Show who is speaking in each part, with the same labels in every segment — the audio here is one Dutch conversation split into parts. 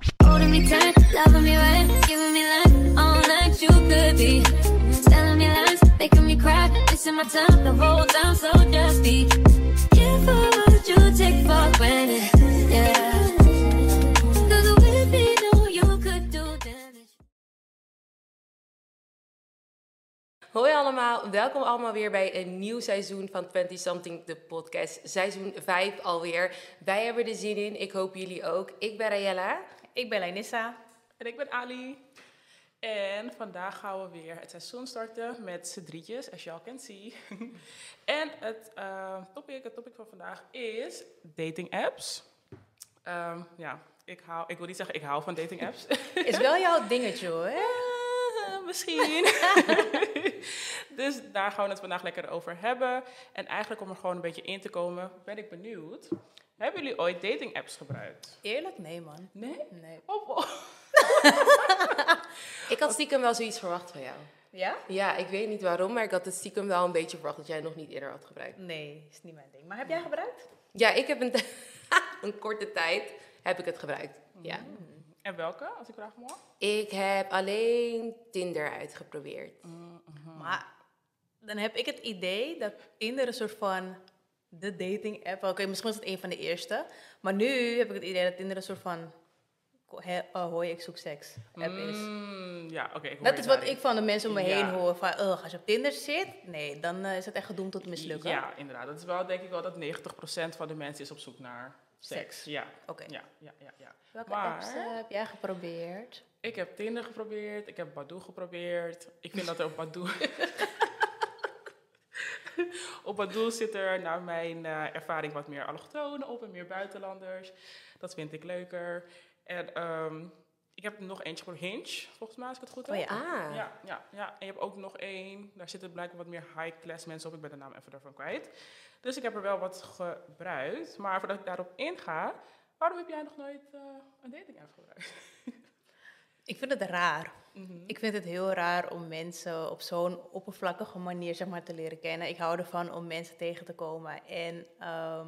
Speaker 1: me turn, loving me right, giving me life, all that you could be. Telling me lies, making me cry, wasting my time, the whole time so just be careful what you take for granted. Yeah, 'Cause with me, know you could do damage.
Speaker 2: Hoi allemaal, welkom allemaal weer bij een nieuw seizoen van 20 Something, de podcast. Seizoen 5 alweer. Wij hebben er zin in, ik hoop jullie ook. Ik ben Rayella.
Speaker 3: Ik ben Leinissa.
Speaker 4: En ik ben Ali. En vandaag gaan we weer het seizoen starten met z'n drietjes, as y'all can see. en het, eh, topic, het topic van vandaag is dating apps. Ehm, ja, ik, hou, ik wil niet zeggen ik hou van dating apps.
Speaker 3: Is wel jouw dingetje hoor. hè?
Speaker 4: Eh, Misschien. dus daar gaan we het vandaag lekker over hebben. En eigenlijk om er gewoon een beetje in te komen, ben ik benieuwd. Hebben jullie ooit dating apps gebruikt?
Speaker 3: Eerlijk, nee man.
Speaker 4: Nee?
Speaker 3: Nee.
Speaker 4: Of, of-
Speaker 2: Ik had stiekem wel zoiets verwacht van jou.
Speaker 3: Ja?
Speaker 2: Ja, ik weet niet waarom, maar ik had het stiekem wel een beetje verwacht dat jij nog niet eerder had gebruikt.
Speaker 3: Nee, is niet mijn ding. Maar heb jij gebruikt?
Speaker 2: Ja, ik heb een, t- een korte tijd heb ik het gebruikt. Ja.
Speaker 4: En welke, als ik vraag mag?
Speaker 2: Ik heb alleen Tinder uitgeprobeerd.
Speaker 3: Maar dan heb ik het idee dat Tinder een soort van de dating app. Oké, misschien was het een van de eerste. Maar nu heb ik het idee dat Tinder een soort van ko- he- oh, hoi, ik zoek seks app is.
Speaker 4: Mm, ja, oké. ik hoor
Speaker 3: Dat
Speaker 4: je
Speaker 3: is wat
Speaker 4: daarin.
Speaker 3: ik van de mensen om me heen
Speaker 4: Ja.
Speaker 3: hoor. Van, "Ugh, als je op Tinder zit, nee, dan eh, is het echt gedoemd tot mislukken.
Speaker 4: Ja, inderdaad. Dat is wel denk ik wel dat 90% van de mensen is op zoek naar seks.
Speaker 3: Seks.
Speaker 4: Ja.
Speaker 3: Oké.
Speaker 4: ja, ja, ja, ja.
Speaker 3: Welke
Speaker 4: Maar-
Speaker 3: apps eh, heb jij geprobeerd?
Speaker 4: Ik heb Tinder geprobeerd, ik heb Badoo geprobeerd. Ik vind dat er op Badoo... op Badoo zit er naar mijn eh, ervaring wat meer allochtonen op en meer buitenlanders. Dat vind ik leuker. En ehm, ik heb nog eentje voor Hinge, volgens mij, als ik het goed
Speaker 3: Oh
Speaker 4: heb.
Speaker 3: ja.
Speaker 2: Ah,
Speaker 4: Ja, ja, ja. En je hebt ook nog één. Daar zitten blijkbaar wat meer high-class mensen op. Ik ben de naam even daarvan kwijt. Dus ik heb er wel wat gebruikt. Maar voordat ik daarop inga, waarom heb jij nog nooit eh, een dating app gebruikt?
Speaker 3: Ik vind het raar.
Speaker 4: Mhm.
Speaker 3: Ik vind het heel raar om mensen op zo'n oppervlakkige manier zeg maar, te leren kennen. Ik hou ervan om mensen tegen te komen. En ehm,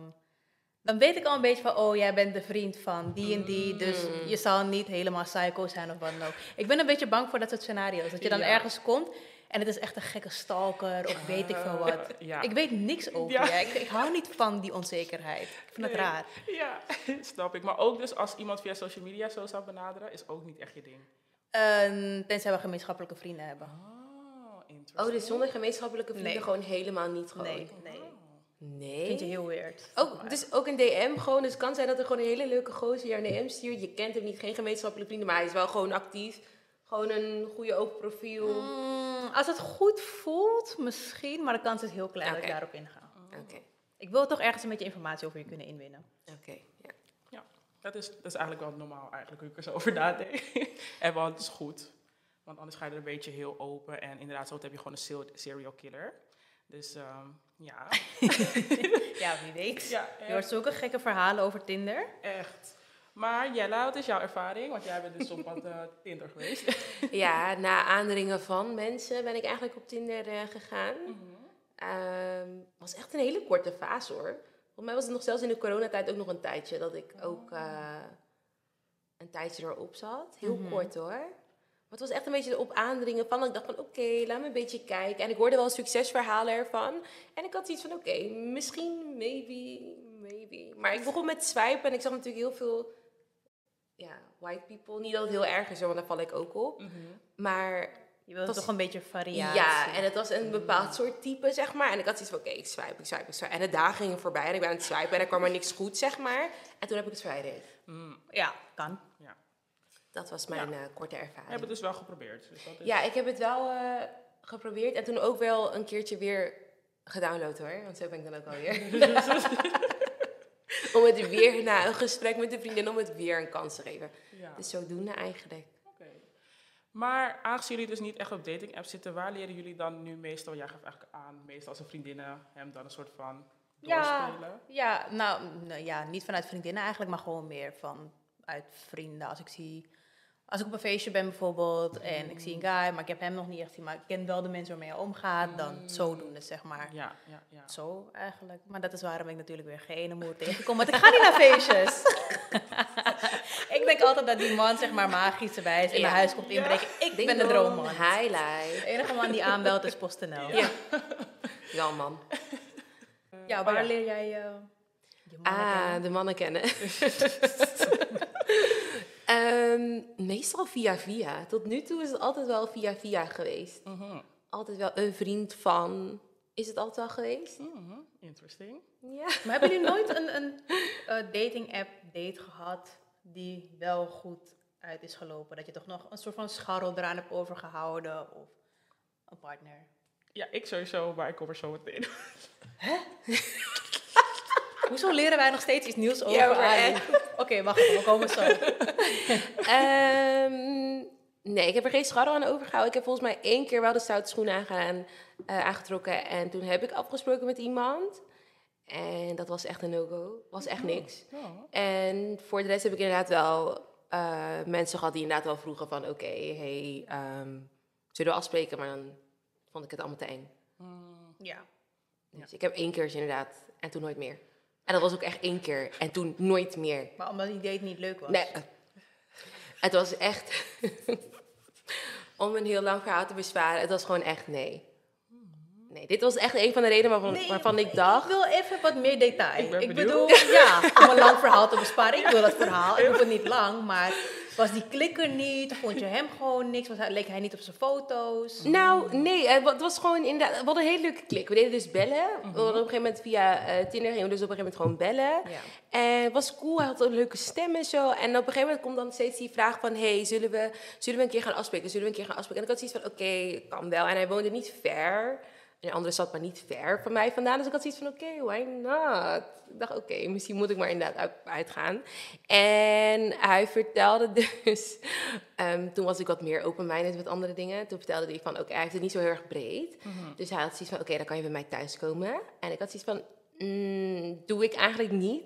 Speaker 3: dan weet ik al een beetje van, oh, jij bent de vriend van die en die. Dus
Speaker 4: Mhm.
Speaker 3: je zal niet helemaal psycho zijn of wat dan ook. Ik ben een beetje bang voor dat soort scenario's. Dat je dan
Speaker 4: Ja.
Speaker 3: ergens komt en het is echt een gekke stalker of weet ik veel wat.
Speaker 4: Eh, ja.
Speaker 3: Ik weet niks over
Speaker 4: Ja.
Speaker 3: je. Ik, ik hou niet van die onzekerheid. Ik vind het
Speaker 4: Nee.
Speaker 3: raar.
Speaker 4: Ja, snap ik. Maar ook dus als iemand via social media zo zou benaderen, is ook niet echt je ding.
Speaker 3: Ehm, tenzij we gemeenschappelijke vrienden hebben.
Speaker 4: Oh, interessant.
Speaker 2: Oh, dus zonder gemeenschappelijke vrienden
Speaker 3: Nee.
Speaker 2: gewoon helemaal niet gewoon?
Speaker 3: Nee, nee.
Speaker 2: Nee?
Speaker 3: Vind je heel weird.
Speaker 2: Ook, dus ook een DM gewoon. Dus het kan zijn dat er gewoon een hele leuke gozer jou een DM stuurt. Je kent hem niet, geen gemeenschappelijke vrienden, maar hij is wel gewoon actief. Gewoon een goede open profiel.
Speaker 3: Mm, Als het goed voelt, misschien, maar de kans is heel klein dat
Speaker 2: Oké.
Speaker 3: ik daarop inga.
Speaker 2: Oké,
Speaker 3: Ik wil toch ergens een beetje informatie over je kunnen inwinnen.
Speaker 2: oké. ja.
Speaker 4: Ja, dat is, dat is eigenlijk wel normaal eigenlijk, hoe ik er zo over nadenk. en want het is goed. Want anders ga je er een beetje heel open. En inderdaad, zo heb je gewoon een sel- serial killer. Dus ehm, ja,
Speaker 3: Ja, wie weet.
Speaker 4: Ja,
Speaker 3: je hoort zulke gekke verhalen over Tinder.
Speaker 4: echt. Maar Jella, wat is jouw ervaring? Want jij bent dus op wat eh, Tinder geweest.
Speaker 2: Ja, na aandringen van mensen ben ik eigenlijk op Tinder eh, gegaan. Ehm, was echt een hele korte fase hoor. Volgens mij was het nog zelfs in de coronatijd ook nog een tijdje dat ik ook eh, een tijdje erop zat. Heel kort hoor. Maar het was echt een beetje op aandringen van. dat Ik dacht van oké, laat me een beetje kijken. En ik hoorde wel succesverhalen ervan. En ik had zoiets van oké, misschien, maybe, maybe. Maar ik begon met swipen en ik zag natuurlijk heel veel ja, white people. Niet dat het heel erg is, hoor, want daar val ik ook op. Maar
Speaker 3: Je wilt
Speaker 2: Dat is-
Speaker 3: toch een beetje
Speaker 2: ja,
Speaker 3: variatie.
Speaker 2: en het was een bepaald soort type, zeg maar. En ik had zoiets van, oké, ik swipe, ik swipe, ik swipe. En de dagen gingen voorbij en ik ben aan het swipen en er kwam er niks goed, zeg maar. En toen heb ik het vrijdag.
Speaker 3: Ja, kan.
Speaker 4: Ja.
Speaker 2: Dat was mijn eh, korte
Speaker 4: We hebben
Speaker 2: ervaring.
Speaker 4: het dus wel geprobeerd. Dus dat is-
Speaker 2: Ja, ik heb het wel eh, geprobeerd en toen ook wel een keertje weer gedownload hoor. Want zo ben ik dan ook alweer. om het weer na een gesprek met de vriendin, om het weer een kans te geven.
Speaker 4: Ja,
Speaker 2: Dus zodoende eigenlijk.
Speaker 4: oké. Maar aangezien jullie dus niet echt op dating apps zitten, waar leren jullie dan nu meestal, jij geeft eigenlijk aan, meestal als een vriendinnen hem dan een soort van doorspelen?
Speaker 3: ja, nou, nou ja, niet vanuit vriendinnen eigenlijk, maar gewoon meer van uit vrienden. Als ik zie, als ik op een feestje ben bijvoorbeeld en ik zie een guy, maar ik heb hem nog niet echt gezien, maar ik ken wel de mensen waarmee hij omgaat, dan zodoende zeg maar.
Speaker 4: Ja, ja, ja.
Speaker 3: Zo eigenlijk. Maar dat is waarom ik natuurlijk weer geen moer tegenkom. Want ik ga niet naar feestjes. Ik denk altijd dat die man zeg maar magische wijze in
Speaker 2: Ja.
Speaker 3: mijn huis komt inbreken. Ik
Speaker 2: Ding
Speaker 3: ben de
Speaker 2: dong,
Speaker 3: droomman.
Speaker 2: Highlight.
Speaker 3: De enige man die aanbelt is PostNL. Oh Ja,
Speaker 2: Ja. Ja, man.
Speaker 3: waar
Speaker 4: ja.
Speaker 3: leer jij eh, je mannen
Speaker 2: Ah,
Speaker 3: kennen?
Speaker 2: de mannen kennen. Ehm, meestal via via. Tot nu toe is het altijd wel via via geweest.
Speaker 4: Mhm.
Speaker 2: Altijd wel een vriend van. Is het altijd wel geweest?
Speaker 4: Mhm. Interesting.
Speaker 2: Ja.
Speaker 3: Maar hebben jullie nooit een, een eh, dating app date gehad die wel goed uit is gelopen? Dat je toch nog een soort van scharrel eraan hebt overgehouden of een partner?
Speaker 4: Ja, ik sowieso, maar ik kom er zo meteen.
Speaker 3: Hoezo leren wij nog steeds iets nieuws over
Speaker 2: maar
Speaker 3: Ali? Oké, wacht even, we komen zo.
Speaker 2: Ehm, nee, ik heb er geen scharrel aan overgehouden. Ik heb volgens mij één keer wel de stoute schoen aangaan, eh, aangetrokken. En toen heb ik afgesproken met iemand. En dat was echt een no-go. Was echt niks.
Speaker 4: Oh.
Speaker 2: En voor de rest heb ik inderdaad wel eh, mensen gehad die inderdaad wel vroegen van... Oké, hey, ehm, zullen we afspreken? Maar dan vond ik het allemaal te eng.
Speaker 4: Mm.
Speaker 3: Ja.
Speaker 2: Dus ik heb één keer inderdaad en toen nooit meer. En dat was ook echt één keer en toen nooit meer.
Speaker 3: Maar omdat die date niet leuk was.
Speaker 2: Nee. Het was echt. om een heel lang verhaal te besparen, het was gewoon echt nee. Nee, dit was echt een van de redenen waarvan,
Speaker 3: Nee,
Speaker 2: waarvan ik
Speaker 3: Ik
Speaker 2: dacht.
Speaker 3: wil even wat meer detail.
Speaker 4: Ik ben
Speaker 3: bedoel, ja, om een lang verhaal te besparen. Ik wil dat verhaal. Ik hoef het niet lang, maar was die klikker niet? Vond je hem gewoon niks? Was hij, leek hij niet op zijn foto's?
Speaker 2: Nou, nee, eh, wa- het was gewoon inderdaad. We hadden een hele leuke klik. We deden dus bellen. We hadden op een gegeven moment via eh, Tinder gingen we dus op een gegeven moment gewoon bellen.
Speaker 3: Ja.
Speaker 2: En het was cool, hij had een leuke stem en zo. En op een gegeven moment komt dan steeds die vraag van... hey, zullen we, zullen we een keer gaan afspreken? Zullen we een keer gaan afspreken? En ik had zoiets van, oké, kan wel. En hij woonde niet ver. En de andere stad, maar niet ver van mij vandaan. Dus ik had zoiets van, oké, why not? Ik dacht, oké, misschien moet ik maar inderdaad uit, uitgaan. En hij vertelde dus... ehm, toen was ik wat meer open-minded met andere dingen. Toen vertelde hij van, oké, hij heeft het niet zo heel erg breed. Dus hij had zoiets van, oké, dan kan je bij mij thuiskomen. En ik had zoiets van, mm, doe ik eigenlijk niet.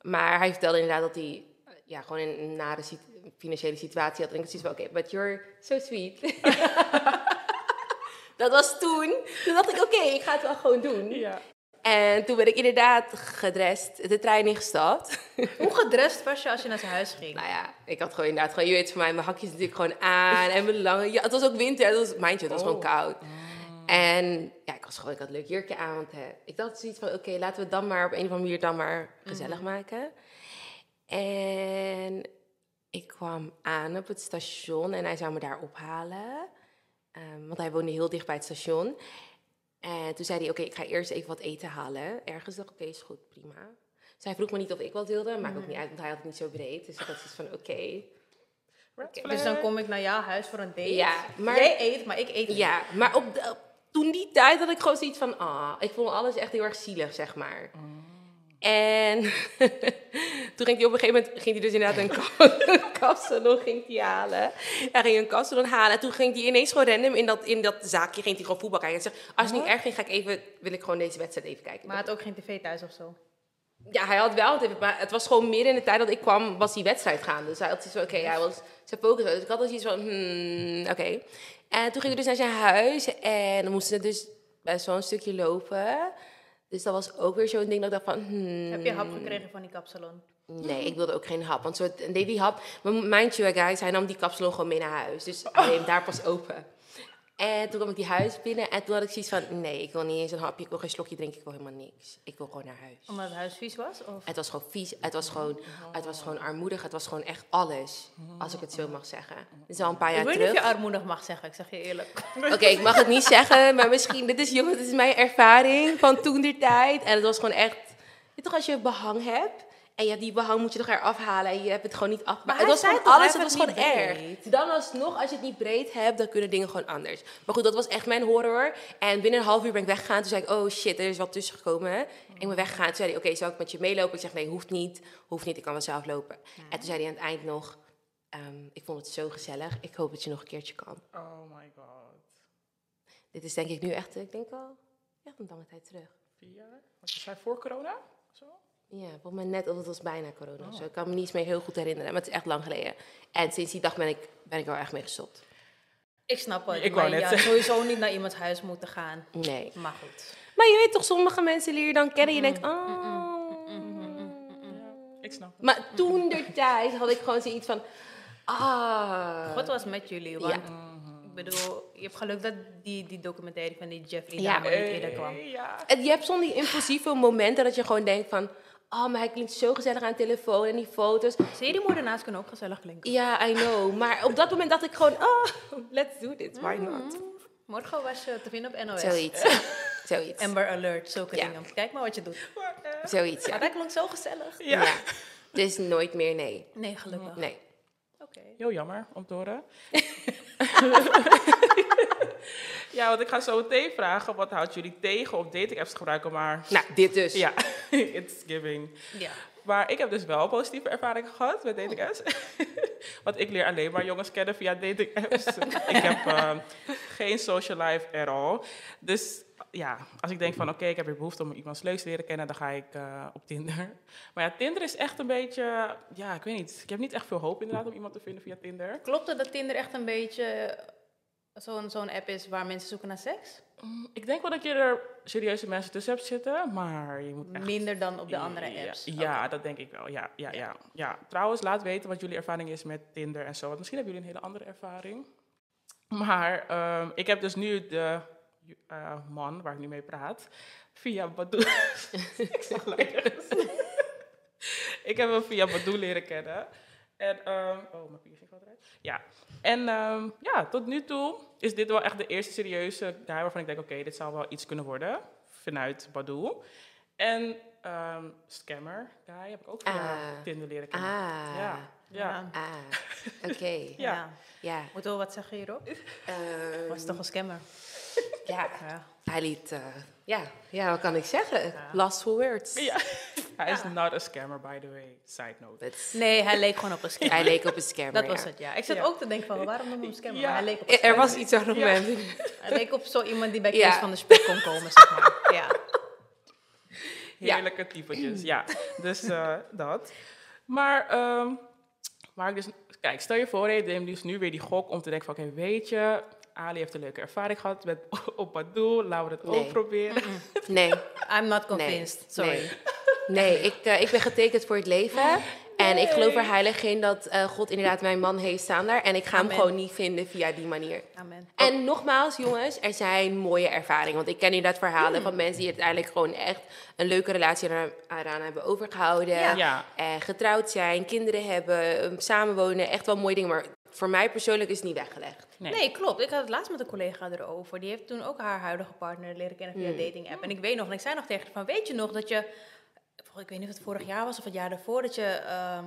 Speaker 2: Maar hij vertelde inderdaad dat hij eh, ja, gewoon een een nare sit- financiële situatie had. En ik had zoiets van, oké, but you're so sweet. dat was toen. Toen dacht ik, oké, ik ga het wel gewoon doen.
Speaker 4: Ja.
Speaker 2: En toen ben ik inderdaad gedrest, de trein ingestapt.
Speaker 3: Hoe gedrest was je als je naar zijn huis ging?
Speaker 2: nou ja, ik had gewoon inderdaad gewoon, je weet van mij, mijn hakjes natuurlijk gewoon aan en mijn lange... Ja, het was ook winter, het was, mind you, het was gewoon
Speaker 4: Oh.
Speaker 2: koud. En ja, ik was gewoon, ik had een leuk jurkje aan, want hè, ik dacht zoiets van, oké, laten we het dan maar op een of andere manier dan maar gezellig
Speaker 4: Mhm.
Speaker 2: maken. En ik kwam aan op het station en hij zou me daar ophalen, Ehm, want hij woonde heel dicht bij het station. En toen zei hij, oké, ik ga eerst even wat eten halen. Ergens dacht ik, oké, is goed, prima. Dus hij vroeg me niet of ik wat wilde, maakt ook niet uit, want hij had het niet zo breed. Dus ik had zoiets van, oké,
Speaker 4: Red
Speaker 2: Oké.
Speaker 3: Dus dan kom ik naar jouw huis voor een date.
Speaker 2: Ja, maar-
Speaker 3: Jij eet, maar ik eet niet.
Speaker 2: Ja, maar op de- op- toen die tijd had ik gewoon zoiets van, ah, ik vond alles echt heel erg zielig, zeg maar. En toen ging hij op een gegeven moment, ging hij dus inderdaad een, ka- een kapsalon ging hij halen. Hij ging een kapsalon halen en toen ging hij ineens gewoon random in dat, in dat zaakje, ging hij gewoon voetbal kijken. En zegt, als het niet erg ging, ga ik even, wil ik gewoon deze wedstrijd even kijken.
Speaker 3: Maar hij had ook geen tv thuis of zo.
Speaker 2: Ja, hij had wel, het, maar het was gewoon midden in de tijd dat ik kwam, was die wedstrijd gaande. Dus hij had zoiets van, oké, hij was zijn focus. was- Dus ik had al zoiets van, hmm, oké. En toen gingen we dus naar zijn huis en dan moesten we dus best wel een stukje lopen. Dus dat was ook weer zo'n ding dat ik dacht van, hmm,
Speaker 3: Heb je hap gekregen van die kapsalon?
Speaker 2: nee, ik wilde ook geen hap. Want zo deed die hap, maar mind you guys, hij nam die kapsalon gewoon mee naar huis. Dus hij deed hem daar pas open. En toen kwam ik die huis binnen en toen had ik zoiets van, nee, ik wil niet eens een hapje, ik wil geen slokje drinken, ik wil helemaal niks. Ik wil gewoon naar huis.
Speaker 3: Omdat het huis vies was? Of?
Speaker 2: Het was gewoon vies, het was gewoon, het was gewoon armoedig, het was gewoon echt alles, als ik het zo mag zeggen. Dit is al een paar
Speaker 3: ik
Speaker 2: jaar
Speaker 3: weet niet of je
Speaker 2: terug.
Speaker 3: armoedig mag zeggen, ik zeg je eerlijk.
Speaker 2: Oké, ik mag het niet zeggen, maar misschien, dit is, jongen, dit is mijn ervaring van toen die tijd. En het was gewoon echt, je weet toch als je behang hebt, en je hebt die behang moet je toch eraf halen en je hebt het gewoon niet af.
Speaker 3: Maar
Speaker 2: het
Speaker 3: hij
Speaker 2: was
Speaker 3: zei
Speaker 2: gewoon
Speaker 3: toch, hij
Speaker 2: alles, het was
Speaker 3: heeft
Speaker 2: gewoon
Speaker 3: het niet
Speaker 2: erg. Dan alsnog, als je het niet breed hebt, dan kunnen dingen gewoon anders. Maar goed, dat was echt mijn horror. En binnen een half uur ben ik weggegaan. Toen zei ik, oh shit, er is wat tussen gekomen. Ik ben weggegaan. Toen zei hij, oké, zou ik met je meelopen? Ik zeg, nee, hoeft niet. Hoeft niet, ik kan wel zelf lopen. En toen zei hij aan het eind nog, ehm, ik vond het zo gezellig. Ik hoop dat je nog een keertje kan.
Speaker 4: Oh my god.
Speaker 2: Dit is denk ik nu echt, ik denk al, echt een lange tijd terug.
Speaker 4: Vier jaar? Was je zei voor corona? Zo?
Speaker 2: Ja, volgens mij net, want het was bijna corona. Zo, ik kan me niets meer heel goed herinneren, maar het is echt lang geleden. En sinds die dag ben ik, ben ik er wel echt mee gestopt.
Speaker 3: Ik snap het.
Speaker 4: Ik
Speaker 3: maar
Speaker 4: wou net
Speaker 3: je had sowieso niet naar iemands huis moeten gaan.
Speaker 2: Nee.
Speaker 3: Maar goed.
Speaker 2: Maar je weet toch, sommige mensen leer je dan kennen. Je denkt, oh.
Speaker 4: Ik ik snap het.
Speaker 2: Maar toen der tijd had ik gewoon zoiets van. Ah.
Speaker 3: God was met jullie,
Speaker 2: Ja.
Speaker 3: want ik bedoel, je hebt geluk dat die, die documentaire van die Jeffrey
Speaker 2: Ja.
Speaker 3: Dahmer niet eerder kwam.
Speaker 4: Hey, ja.
Speaker 2: Het- je hebt soms die impulsieve momenten dat je gewoon denkt van... Oh, maar hij klinkt zo gezellig aan de telefoon en die foto's.
Speaker 3: Seriemoordenaars kunnen ook gezellig klinken.
Speaker 2: Ja, I know. Maar op dat moment dacht ik gewoon... Oh, let's do this. Why not?
Speaker 3: Morgen was je te vinden op NOS.
Speaker 2: Zoiets. Zoiets.
Speaker 3: Amber Alert, zulke
Speaker 2: Ja.
Speaker 3: dingen. Kijk maar wat je doet.
Speaker 4: Maar, eh,
Speaker 2: Zoiets,
Speaker 3: Maar
Speaker 2: ja.
Speaker 3: dat klonk zo gezellig.
Speaker 4: ja.
Speaker 2: Ja. Dus nooit meer nee.
Speaker 3: Nee, gelukkig.
Speaker 2: Nee.
Speaker 3: Oké.
Speaker 4: Heel jammer om te horen. ja, want ik ga zo meteen vragen, wat houdt jullie tegen om dating apps te gebruiken? Maar
Speaker 2: Nou, dit dus.
Speaker 4: ja, it's giving.
Speaker 3: Ja.
Speaker 4: Maar ik heb dus wel positieve ervaringen gehad met dating apps. Want ik leer alleen maar jongens kennen via dating apps. ik heb eh, geen social life at all. Dus ja, als ik denk van oké, ik heb weer behoefte om iemand leuks te leren kennen, dan ga ik eh, op Tinder. Maar ja, Tinder is echt een beetje, ja, ik weet niet. Ik heb niet echt veel hoop inderdaad om iemand te vinden via Tinder.
Speaker 3: Klopt het dat Tinder echt een beetje eh, zo'n zo'n app is waar mensen zoeken naar seks?
Speaker 4: Mm, Ik denk wel dat je er serieuze mensen tussen hebt zitten, maar je moet echt...
Speaker 3: Minder dan op de andere
Speaker 4: Ja,
Speaker 3: apps. Oh,
Speaker 4: Ja, dat denk ik wel. Ja, ja, ja. Ja. Trouwens, laat weten wat jullie ervaring is met Tinder en zo. Want misschien hebben jullie een hele andere ervaring. Maar ehm, ik heb dus nu de eh, man waar ik nu mee praat via Badoo. ik zag leiders. ik heb hem via Badoo leren kennen. En, ehm, oh, mijn piercing valt eruit. Ja. En ehm, ja, tot nu toe is dit wel echt de eerste serieuze guy waarvan ik denk, oké, dit zou wel iets kunnen worden vanuit Badoo. En ehm, scammer guy heb ik ook via
Speaker 2: Ah.
Speaker 4: Tinder leren
Speaker 2: Ah.
Speaker 4: kennen. Ja, ja,
Speaker 2: Ah. Oké.
Speaker 4: Ja.
Speaker 2: Ja.
Speaker 3: Moet wel wat zeggen hierop?
Speaker 2: Ehm,
Speaker 3: Was toch een scammer?
Speaker 2: ja.
Speaker 3: Eh, Ja.
Speaker 2: Hij liet... eh, ja. ja, wat kan ik zeggen? Last for words.
Speaker 4: ja. Hij is not a scammer, by the way. Side note.
Speaker 2: But
Speaker 3: Nee, hij leek gewoon op een scammer.
Speaker 2: hij leek op een scammer,
Speaker 3: Dat was
Speaker 2: ja.
Speaker 3: het, ja. Ik zat
Speaker 4: Ja.
Speaker 3: ook te denken van, waarom noemen we hem scammer?
Speaker 4: Ja.
Speaker 3: Maar hij leek op een
Speaker 2: Er- Er
Speaker 3: scammer.
Speaker 2: was iets aan het
Speaker 4: Ja.
Speaker 2: moment.
Speaker 3: Hij leek op zo iemand die bij
Speaker 2: Ja.
Speaker 3: Kees van de Spek kon komen, zeg maar. Ja.
Speaker 2: Ja.
Speaker 4: Heerlijke typetjes, ja. Dus eh, dat. Maar, ehm, maar ik dus, kijk, stel je voor, je neemt dus nu weer die gok om te denken van, oké, weet je, Ali heeft een leuke ervaring gehad met op Badoo, laten we dat
Speaker 2: Nee.
Speaker 4: ook proberen.
Speaker 2: Nee.
Speaker 3: I'm not convinced, sorry.
Speaker 2: Nee, nee ik, eh, ik ben getekend voor het leven. En ik geloof er heilig in dat eh, God inderdaad mijn man heeft staan daar. En ik ga
Speaker 3: Amen.
Speaker 2: hem gewoon niet vinden via die manier.
Speaker 3: Amen.
Speaker 2: En nogmaals, jongens, er zijn mooie ervaringen. Want ik ken inderdaad verhalen van mensen die uiteindelijk gewoon echt een leuke relatie eraan, eraan hebben overgehouden.
Speaker 3: Ja.
Speaker 4: Ja.
Speaker 2: Eh, getrouwd zijn, kinderen hebben, eh, samenwonen. Echt wel mooie dingen. Maar voor mij persoonlijk is het niet weggelegd.
Speaker 4: Nee.
Speaker 3: Nee. klopt. Ik had het laatst met een collega erover. Die heeft toen ook haar huidige partner leren kennen
Speaker 2: Hmm.
Speaker 3: via dating app. En ik weet nog, en ik zei nog tegen haar van, weet je nog dat je... Ik weet niet of het vorig jaar was of het jaar daarvoor, dat je ehm,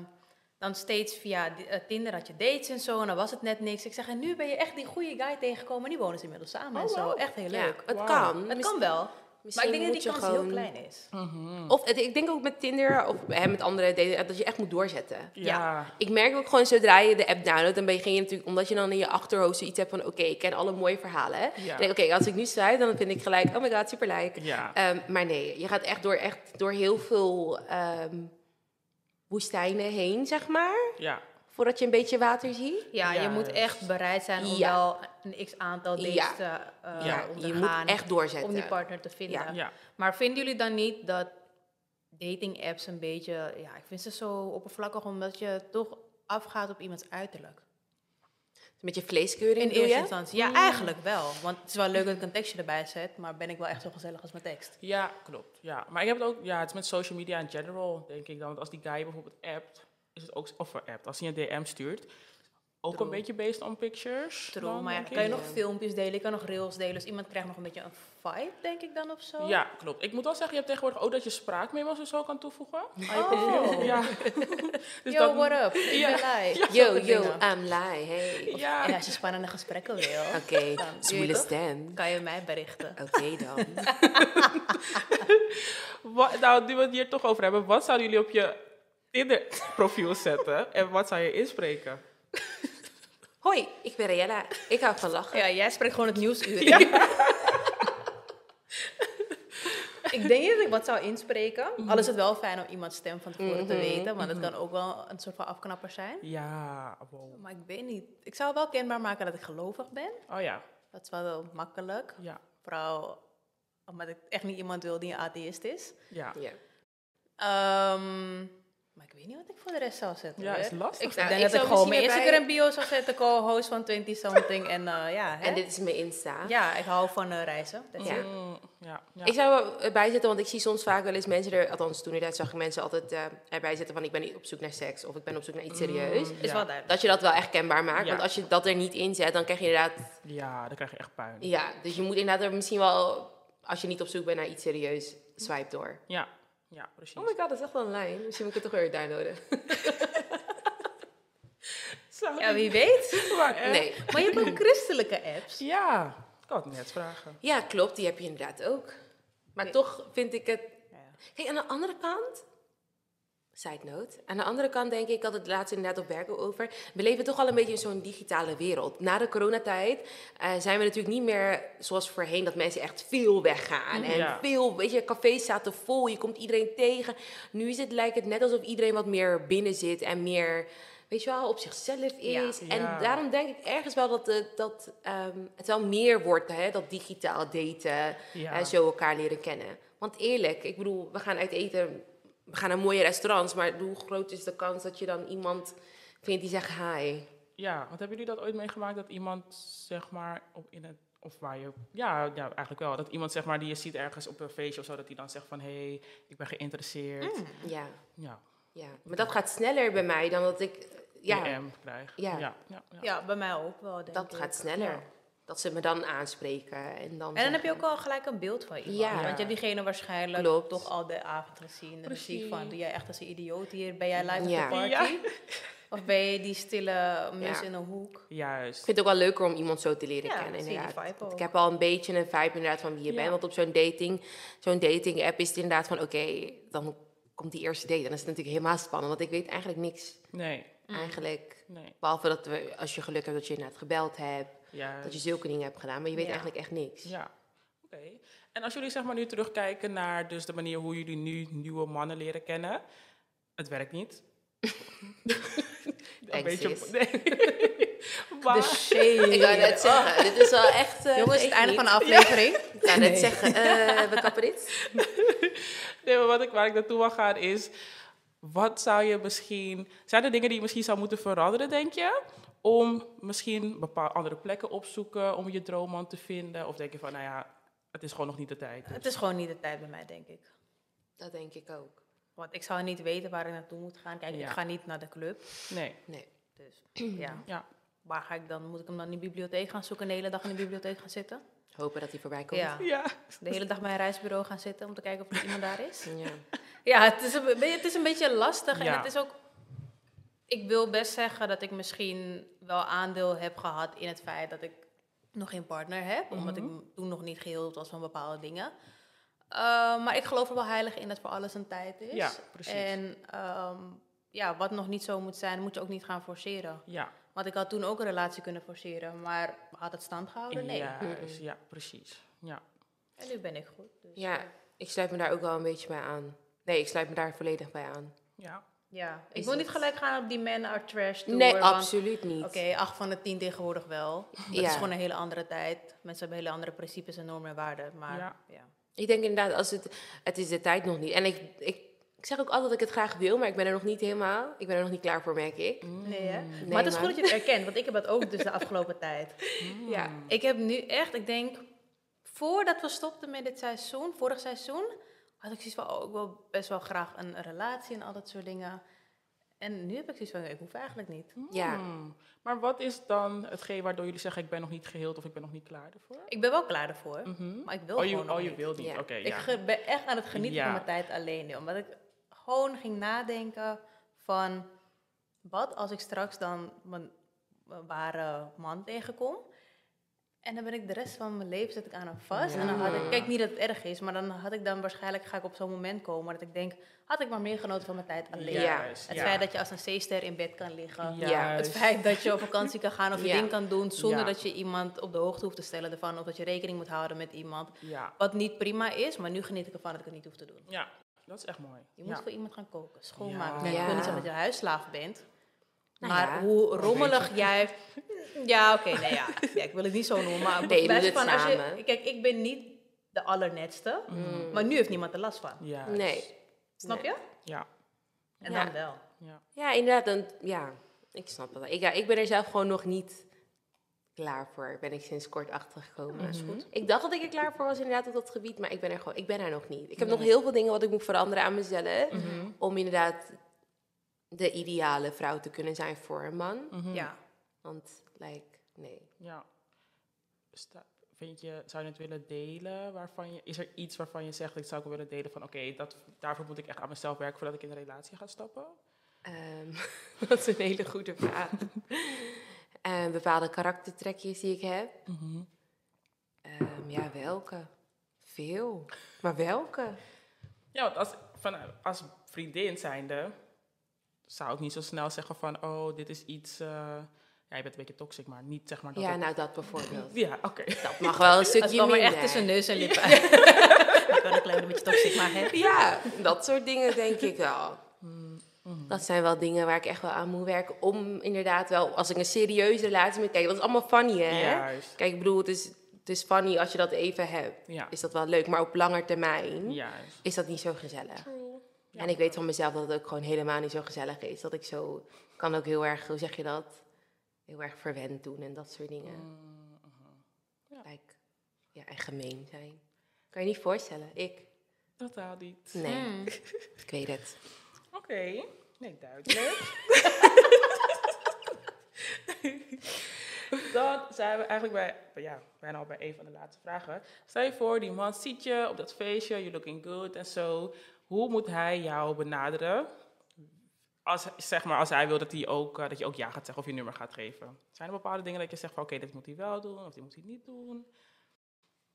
Speaker 3: dan steeds via di- eh, Tinder had je dates en zo. En dan was het net niks. Ik zeg, en nu ben je echt die goede guy tegengekomen. En die wonen ze inmiddels samen en
Speaker 4: Oh,
Speaker 3: zo.
Speaker 4: wow.
Speaker 3: Echt heel
Speaker 2: Ja,
Speaker 3: leuk.
Speaker 2: het
Speaker 4: Wauw.
Speaker 2: kan.
Speaker 3: Het kan wel. Maar ik
Speaker 2: misschien
Speaker 3: denk dat die
Speaker 2: moet je
Speaker 3: kans heel
Speaker 2: gewoon-
Speaker 3: klein is.
Speaker 2: Of het- ik denk ook met Tinder of hè, met andere dating, dat je echt moet doorzetten.
Speaker 4: Ja.
Speaker 2: Ik merk ook gewoon zodra je de app downloadt, dan begin je natuurlijk, omdat je dan in je achterhoofd zoiets hebt van, oké, ik ken alle mooie verhalen. Ik denk, oké, als ik nu sluit, dan vind ik gelijk, oh my god, super like.
Speaker 4: Ja.
Speaker 2: Ehm, maar nee, je gaat echt door, echt door heel veel ehm, woestijnen heen, zeg maar,
Speaker 4: ja.
Speaker 2: voordat je een beetje water ziet.
Speaker 3: Ja, je moet
Speaker 4: Juist.
Speaker 3: echt bereid zijn om
Speaker 2: Ja.
Speaker 3: wel een x-aantal dates
Speaker 2: Ja.
Speaker 3: te eh,
Speaker 4: Ja,
Speaker 2: je
Speaker 3: ondergaan.
Speaker 2: moet echt doorzetten.
Speaker 3: Om die partner te vinden.
Speaker 2: Ja.
Speaker 4: Ja.
Speaker 3: Maar vinden jullie dan niet dat dating apps een beetje, ja, ik vind ze zo oppervlakkig omdat je toch afgaat op iemands uiterlijk.
Speaker 2: Met je vleeskeuring
Speaker 3: In
Speaker 2: bedoel
Speaker 3: eerste
Speaker 2: je?
Speaker 3: instantie. Ja, eigenlijk wel. Want het is wel leuk dat ik een tekstje erbij zet, maar ben ik wel echt zo gezellig als mijn tekst?
Speaker 4: Ja, klopt. Ja. Maar ik heb het ook, ja, het is met social media in general, denk ik dan. Want als die guy bijvoorbeeld appt, is het ook, of appt, als hij een DM stuurt, ook
Speaker 3: True.
Speaker 4: een beetje based on pictures.
Speaker 3: True,
Speaker 4: dan,
Speaker 3: maar ja,
Speaker 4: denk
Speaker 3: kan je
Speaker 4: ik.
Speaker 3: nog filmpjes delen, je kan nog reels delen, dus iemand krijgt nog een beetje een vibe, denk ik dan of zo.
Speaker 4: Ja, klopt. Ik moet wel zeggen, je hebt tegenwoordig ook dat je spraakmemo's en zo kan toevoegen.
Speaker 3: Oh.
Speaker 4: Ja. dus
Speaker 3: Yo,
Speaker 4: dat-
Speaker 3: what up? Ik
Speaker 4: Ja.
Speaker 3: ben Lai.
Speaker 2: Yo, yo, I'm lie, hey.
Speaker 4: Ja.
Speaker 3: En als je spannende gesprekken wil,
Speaker 2: Oké,
Speaker 3: Dan-
Speaker 2: zwoele
Speaker 3: toch?
Speaker 2: stem.
Speaker 3: kan je mij berichten.
Speaker 2: Oké dan.
Speaker 4: Wat, nou, nu we het hier toch over hebben, wat zouden jullie op je Tinder-profiel zetten en wat zou je inspreken?
Speaker 2: Hoi, ik ben Riella. Ik hou van lachen.
Speaker 3: Ja, jij spreekt gewoon het nieuwsuur. in. ik denk niet dat ik wat zou inspreken.
Speaker 2: Mhm.
Speaker 3: Al is het wel fijn om iemands stem van tevoren te weten, want het kan ook wel een soort van afknapper zijn.
Speaker 4: Ja, wow.
Speaker 3: Maar ik weet niet. Ik zou wel kenbaar maken dat ik gelovig ben.
Speaker 4: Oh ja,
Speaker 3: Dat is wel wel makkelijk.
Speaker 4: ja,
Speaker 3: Vooral omdat ik echt niet iemand wil die een atheïst is.
Speaker 4: ja.
Speaker 2: Ja.
Speaker 3: Ehm, Maar ik weet niet wat ik voor de rest zou zetten.
Speaker 4: Ja,
Speaker 3: hoor.
Speaker 4: is lastig.
Speaker 2: Ik-
Speaker 3: Ik
Speaker 2: Nou,
Speaker 3: denk dat
Speaker 2: zou
Speaker 3: ik gewoon mijn
Speaker 2: misschien erbij-
Speaker 3: Instagram bio zou zetten, co-host van 20 something. En eh, ja, hè?
Speaker 2: En dit is mijn Insta.
Speaker 3: ja, ik hou van eh, reizen. Dat is
Speaker 2: Ja.
Speaker 4: Mm, ja, ja.
Speaker 2: Ik zou wel erbij zetten, want ik zie soms vaak wel eens mensen er... Althans, toen inderdaad zag ik mensen altijd eh, erbij zetten van... ik ben niet op zoek naar seks of ik ben op zoek naar iets serieus.
Speaker 4: Mm,
Speaker 3: is
Speaker 4: ja.
Speaker 3: wel duidelijk.
Speaker 2: Dat je dat wel echt kenbaar maakt.
Speaker 4: Ja.
Speaker 2: Want als je dat er niet in zet, dan krijg je inderdaad...
Speaker 4: Ja, dan krijg je echt puin.
Speaker 2: Ja, dus je moet inderdaad er misschien wel... Als je niet op zoek bent naar iets serieus, swipe door.
Speaker 4: Ja, ja precies.
Speaker 2: Oh my god, dat is echt wel een lijn. Misschien moet ik het toch weer downloaden.
Speaker 4: Zou
Speaker 3: Ja,
Speaker 4: ik-
Speaker 3: wie weet.
Speaker 4: maar echt.
Speaker 2: Nee.
Speaker 3: Maar je hebt ook christelijke apps.
Speaker 4: Ja, ik had het net vragen.
Speaker 2: Ja, klopt. Die heb je inderdaad ook. Maar toch vind ik het... Kijk, aan de andere kant... Side note. Aan de andere kant denk ik, ik had het laatst inderdaad op werken over... We leven toch al een beetje in zo'n digitale wereld. Na de coronatijd eh, zijn we natuurlijk niet meer zoals voorheen... dat mensen echt veel weggaan. En
Speaker 4: Ja.
Speaker 2: veel, weet je, cafés zaten vol. Je komt iedereen tegen. Nu is het, lijkt het net alsof iedereen wat meer binnen zit... en meer, weet je wel, op zichzelf
Speaker 3: Ja.
Speaker 2: is. En
Speaker 4: Ja.
Speaker 2: daarom denk ik ergens wel dat, het- dat ehm, het wel meer wordt, hè, dat digitaal daten
Speaker 4: Ja.
Speaker 2: en zo elkaar leren kennen. Want eerlijk, ik bedoel, we gaan uit eten, we gaan naar mooie restaurants, maar hoe groot is de kans dat je dan iemand vindt die zegt hi?
Speaker 4: Ja, want hebben jullie dat ooit meegemaakt dat iemand, zeg maar, op in het, of waar je, ja, ja, eigenlijk wel, dat iemand, zeg maar, die je ziet ergens op een feestje of zo, dat die dan zegt van, hé, hey, ik ben geïnteresseerd.
Speaker 2: Ja,
Speaker 4: Ja,
Speaker 2: ja. Maar dat gaat sneller bij mij dan dat ik, ja,
Speaker 4: DM krijg.
Speaker 2: Ja.
Speaker 4: ja, ja, ja.
Speaker 3: Ja, bij mij ook wel, denk
Speaker 2: dat
Speaker 3: ik.
Speaker 2: gaat sneller.
Speaker 3: Ja.
Speaker 2: Dat ze me dan aanspreken en dan.
Speaker 3: En dan heb je
Speaker 2: zeggen-
Speaker 3: ook al gelijk een beeld van iemand.
Speaker 2: Ja.
Speaker 3: Want je hebt diegene waarschijnlijk
Speaker 2: Klopt.
Speaker 3: toch al de avond gezien. En dan zie je van,
Speaker 4: Precies.
Speaker 3: doe jij echt als een idioot hier? Ben jij live
Speaker 2: Ja.
Speaker 3: op de party? Of ben je die stille mus
Speaker 2: Ja.
Speaker 3: in een hoek?
Speaker 4: Juist.
Speaker 2: Ik vind het ook wel leuker om iemand zo te leren
Speaker 3: Ja,
Speaker 2: kennen,
Speaker 3: zie je die
Speaker 2: inderdaad.
Speaker 3: vibe
Speaker 2: Want ik
Speaker 3: ook.
Speaker 2: heb al een beetje een vibe inderdaad van wie je
Speaker 4: Ja.
Speaker 2: bent. Want op zo'n dating, zo'n dating app is het inderdaad van... oké, dan komt die eerste date. En dat is het natuurlijk helemaal spannend, want ik weet eigenlijk niks.
Speaker 4: Nee,
Speaker 3: Mm.
Speaker 2: Eigenlijk,
Speaker 4: nee,
Speaker 2: behalve dat we, als je geluk hebt dat je inderdaad gebeld hebt... dat je
Speaker 4: juist.
Speaker 2: zulke dingen hebt gedaan, maar je weet
Speaker 3: Ja.
Speaker 2: eigenlijk echt niks.
Speaker 4: Ja, oké. En als jullie, zeg maar, nu terugkijken naar dus de manier hoe jullie nu nieuwe mannen leren kennen, het werkt niet. een
Speaker 2: Thanks, sis.
Speaker 4: Nee.
Speaker 3: De
Speaker 4: maar,
Speaker 3: shade.
Speaker 2: Ik wou net
Speaker 3: Ah,
Speaker 2: zeggen, dit is wel echt... eh,
Speaker 3: Jongens,
Speaker 2: geef
Speaker 3: het einde
Speaker 2: niet.
Speaker 3: van de aflevering.
Speaker 2: Ik wou net zeggen, eh, we kappen dit.
Speaker 4: Nee, maar wat ik, waar ik naartoe wil gaan is... Wat zou je misschien... Zijn er dingen die je misschien zou moeten veranderen, denk je? Om misschien bepaalde andere plekken opzoeken... om je droomman te vinden? Of denk je van, nou ja, het is gewoon nog niet de tijd.
Speaker 3: Het is gewoon niet de tijd bij mij, denk ik.
Speaker 2: Dat denk ik ook.
Speaker 3: Want ik zou niet weten waar ik naartoe moet gaan. Kijk,
Speaker 4: Ja.
Speaker 3: ik ga niet naar de club.
Speaker 4: Nee,
Speaker 2: Nee.
Speaker 3: Dus ja,
Speaker 4: ja.
Speaker 3: waar ga ik dan? Moet ik hem dan in de bibliotheek gaan zoeken? De hele dag in de bibliotheek gaan zitten?
Speaker 2: Hopen dat hij voorbij komt.
Speaker 3: Ja.
Speaker 4: Ja,
Speaker 3: De hele dag bij een reisbureau gaan zitten om te kijken of er iemand daar is?
Speaker 2: Ja.
Speaker 3: Ja, het is een, be- het is een beetje lastig. En
Speaker 4: Ja.
Speaker 3: het is ook. Ik wil best zeggen dat ik misschien wel aandeel heb gehad in het feit dat ik nog geen partner heb. Omdat
Speaker 4: Mhm.
Speaker 3: ik m- toen nog niet geheeld was van bepaalde dingen. Uh, maar ik geloof er wel heilig in dat voor alles een tijd is.
Speaker 4: Ja, precies.
Speaker 3: En ehm, ja, wat nog niet zo moet zijn, moet je ook niet gaan forceren.
Speaker 4: ja.
Speaker 3: Want ik had toen ook een relatie kunnen forceren, maar had het stand gehouden? Oh, Nee.
Speaker 4: Juist, ja, precies. Ja.
Speaker 3: En nu ben ik goed. Dus
Speaker 2: ja, ik sluit me daar ook wel een beetje bij aan. Nee, ik sluit me daar volledig bij aan.
Speaker 4: Ja.
Speaker 3: ja. Ik
Speaker 2: Is
Speaker 3: wil
Speaker 2: het-
Speaker 3: niet gelijk gaan op die men are trash tour.
Speaker 2: Nee,
Speaker 3: want-
Speaker 2: absoluut niet.
Speaker 3: Oké, acht van de tien tegenwoordig wel. Het
Speaker 2: Ja.
Speaker 3: is gewoon een hele andere tijd. Mensen hebben hele andere principes en normen en waarden. Maar
Speaker 4: Ja.
Speaker 3: ja.
Speaker 2: Ik denk inderdaad, als het, het is de tijd nog niet. En ik, ik, ik zeg ook altijd dat ik het graag wil, maar ik ben er nog niet helemaal. Ik ben er nog niet klaar voor, merk ik.
Speaker 3: Nee, hè? Mm. maar het is
Speaker 2: maar-
Speaker 3: goed dat je het erkent, want ik heb dat ook dus de afgelopen tijd.
Speaker 2: Ja.
Speaker 3: Ik heb nu echt, ik denk, voordat we stopten met dit seizoen, vorig seizoen, had ik zoiets van, oh, ik wil best wel graag een relatie en al dat soort dingen. En nu heb ik zoiets van, ik hoef eigenlijk niet.
Speaker 2: Ja.
Speaker 4: Hmm. Maar wat is dan hetgeen waardoor jullie zeggen... ik ben nog niet geheeld of ik ben nog niet klaar ervoor?
Speaker 3: Ik ben wel klaar ervoor, maar ik wil
Speaker 4: Oh,
Speaker 3: gewoon
Speaker 4: je,
Speaker 3: nog
Speaker 4: oh, je
Speaker 3: niet.
Speaker 4: wilt niet.
Speaker 2: Ja.
Speaker 4: Oké,
Speaker 3: Ik
Speaker 4: ja.
Speaker 3: ge- ben echt aan het genieten
Speaker 4: Ja.
Speaker 3: van mijn tijd alleen nu. Omdat ik gewoon ging nadenken van... Wat als ik straks dan mijn, mijn ware man tegenkom? En dan ben ik de rest van mijn leven zit ik aan hem vast. En dan had ik... Kijk, niet dat het erg is. Maar dan had ik dan waarschijnlijk... Ga ik op zo'n moment komen dat ik denk... Had ik maar meer genoten van mijn tijd alleen.
Speaker 2: Ja.
Speaker 4: Juist,
Speaker 3: Het
Speaker 4: ja.
Speaker 3: feit dat je als een C-ster in bed kan liggen.
Speaker 2: Ja,
Speaker 4: Juist.
Speaker 3: Het feit dat je op vakantie kan gaan of je
Speaker 2: Ja.
Speaker 3: ding kan doen... Zonder
Speaker 4: Ja.
Speaker 3: dat je iemand op de hoogte hoeft te stellen ervan. Of dat je rekening moet houden met iemand.
Speaker 4: Ja.
Speaker 3: Wat niet prima is, maar nu geniet ik ervan dat ik het niet hoef te doen.
Speaker 4: ja, dat is echt mooi.
Speaker 3: Je moet
Speaker 4: Ja.
Speaker 3: voor iemand gaan koken, schoonmaken.
Speaker 4: Ja.
Speaker 3: Kijk, Ik wil
Speaker 2: Ja.
Speaker 3: niet zeggen dat je huisslaaf bent.
Speaker 2: Nou
Speaker 3: maar
Speaker 2: ja.
Speaker 3: hoe rommelig jij... Mm, Ja, oké, nee, ja. ja. Ik wil het niet zo noemen, maar...
Speaker 2: Nee, je doet
Speaker 3: bij wijze
Speaker 2: het
Speaker 3: van, als je-
Speaker 2: samen. Mm.
Speaker 3: kijk, ik ben niet de allernetste, maar nu heeft niemand er last van.
Speaker 4: Juist.
Speaker 2: Nee.
Speaker 3: Snap
Speaker 2: Nee.
Speaker 3: je?
Speaker 4: Ja.
Speaker 3: En
Speaker 2: Ja.
Speaker 3: dan wel.
Speaker 4: Ja.
Speaker 2: Ja, inderdaad. Dan, ja, ik snap dat. Ik, ja, ik ben er zelf gewoon nog niet klaar voor. Ben ik sinds kort achtergekomen. Ik dacht dat ik er klaar voor was inderdaad op dat gebied, maar ik ben er gewoon, ik ben er nog niet. Ik heb nog heel veel dingen wat ik moet veranderen aan mezelf om inderdaad de ideale vrouw te kunnen zijn voor een man.
Speaker 3: Ja.
Speaker 2: Want, like, nee.
Speaker 4: ja. Sta- Vind je, zou je het willen delen? Waarvan je, is er iets waarvan je zegt, ik zou ook willen delen van... oké, dat- daarvoor moet ik echt aan mezelf werken voordat ik in een relatie ga stappen?
Speaker 2: Ehm, dat is een hele goede vraag. en bepaalde karaktertrekjes die ik heb. Ehm, ja, welke? Veel. Maar welke?
Speaker 4: Ja, want als, van, als vriendin zijnde zou ik niet zo snel zeggen van... oh, dit is iets... eh, ja, je bent een beetje toxic, maar niet zeg maar dat...
Speaker 2: Ja,
Speaker 4: het-
Speaker 2: nou dat bijvoorbeeld.
Speaker 4: ja oké.
Speaker 2: Dat mag wel een
Speaker 3: Het
Speaker 2: stukje
Speaker 3: kwam er
Speaker 2: minder.
Speaker 3: echt tussen neus en lippen. ik wel een klein beetje toxic, maar hè.
Speaker 2: Ja, dat soort dingen denk ik wel. Dat zijn wel dingen waar ik echt wel aan moet werken. Om inderdaad wel, als ik een serieuze relatie met kijk, dat is allemaal funny hè.
Speaker 4: Juist.
Speaker 2: Kijk, ik bedoel, het is, het is funny als je dat even hebt.
Speaker 4: Ja.
Speaker 2: Is dat wel leuk, maar op langer termijn
Speaker 4: Juist.
Speaker 2: is dat niet zo gezellig. En ik weet van mezelf dat het ook gewoon helemaal niet zo gezellig is. Dat ik zo, kan ook heel erg, hoe zeg je dat? Heel erg verwend doen en dat soort dingen. Like, ja, en gemeen zijn. Kan je niet voorstellen. Ik?
Speaker 4: Totaal niet.
Speaker 2: Nee. Ik weet het.
Speaker 4: Oké. Nee, duidelijk. Dan zijn we eigenlijk bij, bij- ja, bijna al bij een van de laatste vragen. Stel je voor, die man ziet je op dat feestje, you're looking good en zo. Hoe moet hij jou benaderen? Als, zeg maar, als hij wil dat, hij ook, eh, dat je ook ja gaat zeggen of je nummer gaat geven. Zijn er bepaalde dingen dat je zegt van oké, dit moet hij wel doen of dit moet hij niet doen?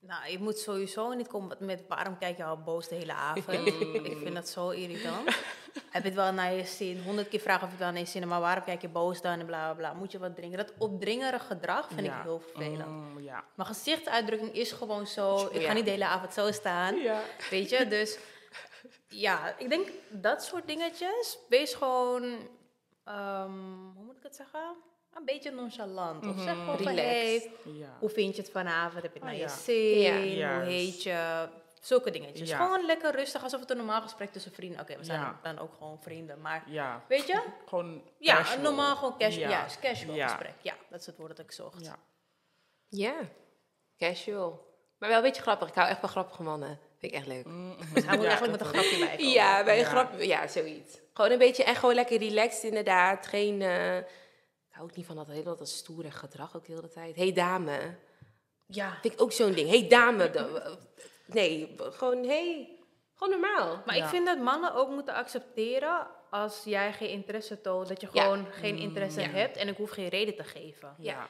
Speaker 3: Nou, je moet sowieso niet komen met waarom kijk je al boos de hele avond.
Speaker 4: Mm.
Speaker 3: ik vind dat zo irritant. Heb je het wel naar je zin? Honderd keer vragen of je het wel naar je zin hebt, maar waarom kijk je boos dan en bla bla bla. Moet je wat drinken? Dat opdringerige gedrag vind
Speaker 4: Ja.
Speaker 3: ik heel vervelend.
Speaker 4: Mm, ja.
Speaker 3: Mijn gezichtsuitdrukking is gewoon zo. Ik
Speaker 2: Ja.
Speaker 3: ga niet de hele avond zo staan.
Speaker 4: Ja.
Speaker 3: Weet je, dus ja, ik denk dat soort dingetjes. Wees gewoon, ehm, hoe moet ik het zeggen? Een beetje nonchalant. Of zeg gewoon van,
Speaker 2: Relaxed.
Speaker 3: hey,
Speaker 4: ja.
Speaker 3: hoe vind je het vanavond? Heb je het naar
Speaker 4: ja.
Speaker 3: je zin?
Speaker 2: Ja.
Speaker 3: Hoe
Speaker 4: Juist.
Speaker 3: heet je? Zulke dingetjes.
Speaker 4: Ja.
Speaker 3: Gewoon lekker rustig, alsof het een normaal gesprek tussen vrienden. Oké, we zijn
Speaker 4: Ja.
Speaker 3: dan ook gewoon vrienden, maar
Speaker 4: ja.
Speaker 3: weet je?
Speaker 4: Gewoon
Speaker 3: Ja,
Speaker 4: casual.
Speaker 3: een normaal gewoon casual,
Speaker 4: Ja.
Speaker 3: juist, casual
Speaker 4: Ja.
Speaker 3: gesprek. Ja, dat is het woord dat ik zocht.
Speaker 4: Ja.
Speaker 2: Ja. Casual. Maar wel een beetje grappig. Ik hou echt van grappige mannen. Vind ik echt leuk.
Speaker 3: Dus hij moet
Speaker 4: Ja,
Speaker 3: eigenlijk met een grapje bij komen.
Speaker 2: Ja, bij een
Speaker 4: Ja.
Speaker 2: grap. Ja, zoiets. Gewoon een beetje en gewoon lekker relaxed inderdaad. Geen... eh, ik hou ook niet van dat hele dat stoere gedrag ook de hele tijd. hey, dame.
Speaker 3: Ja.
Speaker 2: Vind ik ook zo'n ding. hey, dame. Da- Nee, gewoon hey. Gewoon normaal.
Speaker 3: Maar
Speaker 4: Ja.
Speaker 3: ik vind dat mannen ook moeten accepteren als jij geen interesse toont, dat je
Speaker 2: Ja.
Speaker 3: gewoon geen
Speaker 4: Mm.
Speaker 3: interesse hebt en ik hoef geen reden te geven.
Speaker 2: Ja.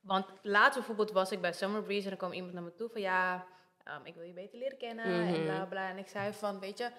Speaker 3: Want laatst bijvoorbeeld was ik bij Summer Breeze en er kwam iemand naar me toe van ja, ehm, ik wil je beter leren kennen en bla bla. En ik zei van, weet je,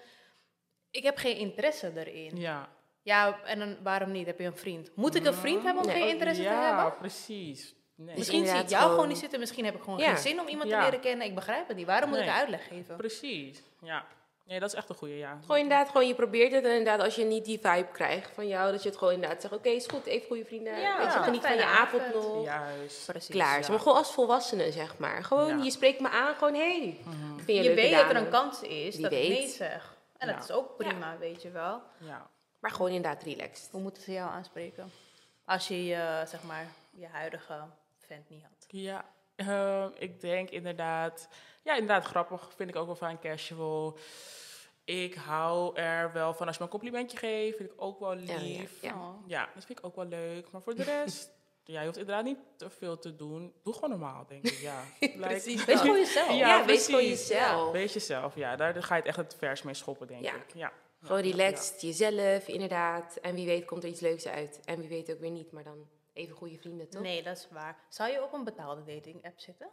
Speaker 3: ik heb geen interesse erin. Ja,
Speaker 4: Ja.
Speaker 3: en dan waarom niet? Heb je een vriend? Moet ik een vriend hebben om
Speaker 2: Nee.
Speaker 3: geen interesse te
Speaker 4: ja,
Speaker 3: hebben?
Speaker 4: precies. Nee.
Speaker 2: Dus-
Speaker 3: Misschien zie ik
Speaker 2: inderdaad
Speaker 3: jou gewoon...
Speaker 2: gewoon-
Speaker 3: niet zitten, misschien heb ik gewoon
Speaker 2: Ja.
Speaker 3: geen zin om iemand
Speaker 4: Ja.
Speaker 3: te leren kennen. Ik begrijp het niet. Waarom moet ik
Speaker 4: Nee.
Speaker 3: een uitleg geven?
Speaker 4: Precies. Ja. Nee, dat is echt een goede ja.
Speaker 2: Gewoon inderdaad, gewoon je probeert het. En inderdaad, als je niet die vibe krijgt van jou, dat je het gewoon inderdaad zegt: Oké, is goed, even goede vrienden.
Speaker 3: Ja,
Speaker 2: weet je, geniet van je
Speaker 3: fijne
Speaker 2: avond
Speaker 3: avond.
Speaker 2: nog.
Speaker 4: Juist.
Speaker 3: Precies.
Speaker 2: Klaar. is.
Speaker 4: ja.
Speaker 2: Maar gewoon als volwassene, zeg maar. Gewoon,
Speaker 4: Ja.
Speaker 2: je spreekt me aan, gewoon hé. Hey, ik vind je,
Speaker 3: je
Speaker 2: leuke
Speaker 3: weet dat er
Speaker 2: dame.
Speaker 3: een kans is
Speaker 2: Wie
Speaker 3: dat ik
Speaker 2: weet.
Speaker 3: nee zeg. En
Speaker 4: Ja.
Speaker 3: dat is ook prima, weet je wel.
Speaker 4: Ja.
Speaker 2: Maar gewoon inderdaad relaxed.
Speaker 3: Hoe moeten ze jou aanspreken? Als je, eh, zeg maar, je huidige vent niet had.
Speaker 4: Ja. ehm, ik denk inderdaad... Ja, inderdaad grappig. Vind ik ook wel fijn casual. Ik hou er wel van als je me een complimentje geeft. Vind ik ook wel
Speaker 2: Ja, ja,
Speaker 4: lief.
Speaker 2: ja.
Speaker 3: Oh.
Speaker 4: Ja, dat vind ik ook wel leuk. Maar voor de rest... ja, je hoeft inderdaad niet te veel te doen. Doe gewoon normaal, denk ik. Ja. Like-
Speaker 2: Precies
Speaker 3: Wees
Speaker 2: dat.
Speaker 3: gewoon jezelf.
Speaker 2: Ja, wees gewoon jezelf.
Speaker 4: Wees jezelf, ja. Daar ga je het echt het vers mee schoppen, denk
Speaker 2: Ja.
Speaker 4: ik. Ja.
Speaker 2: Gewoon relaxed, jezelf, inderdaad. En wie weet komt er iets leuks uit. En wie weet ook weer niet, maar dan even goede vrienden, toch?
Speaker 3: Nee, dat is waar. Zou je op een betaalde dating app zitten?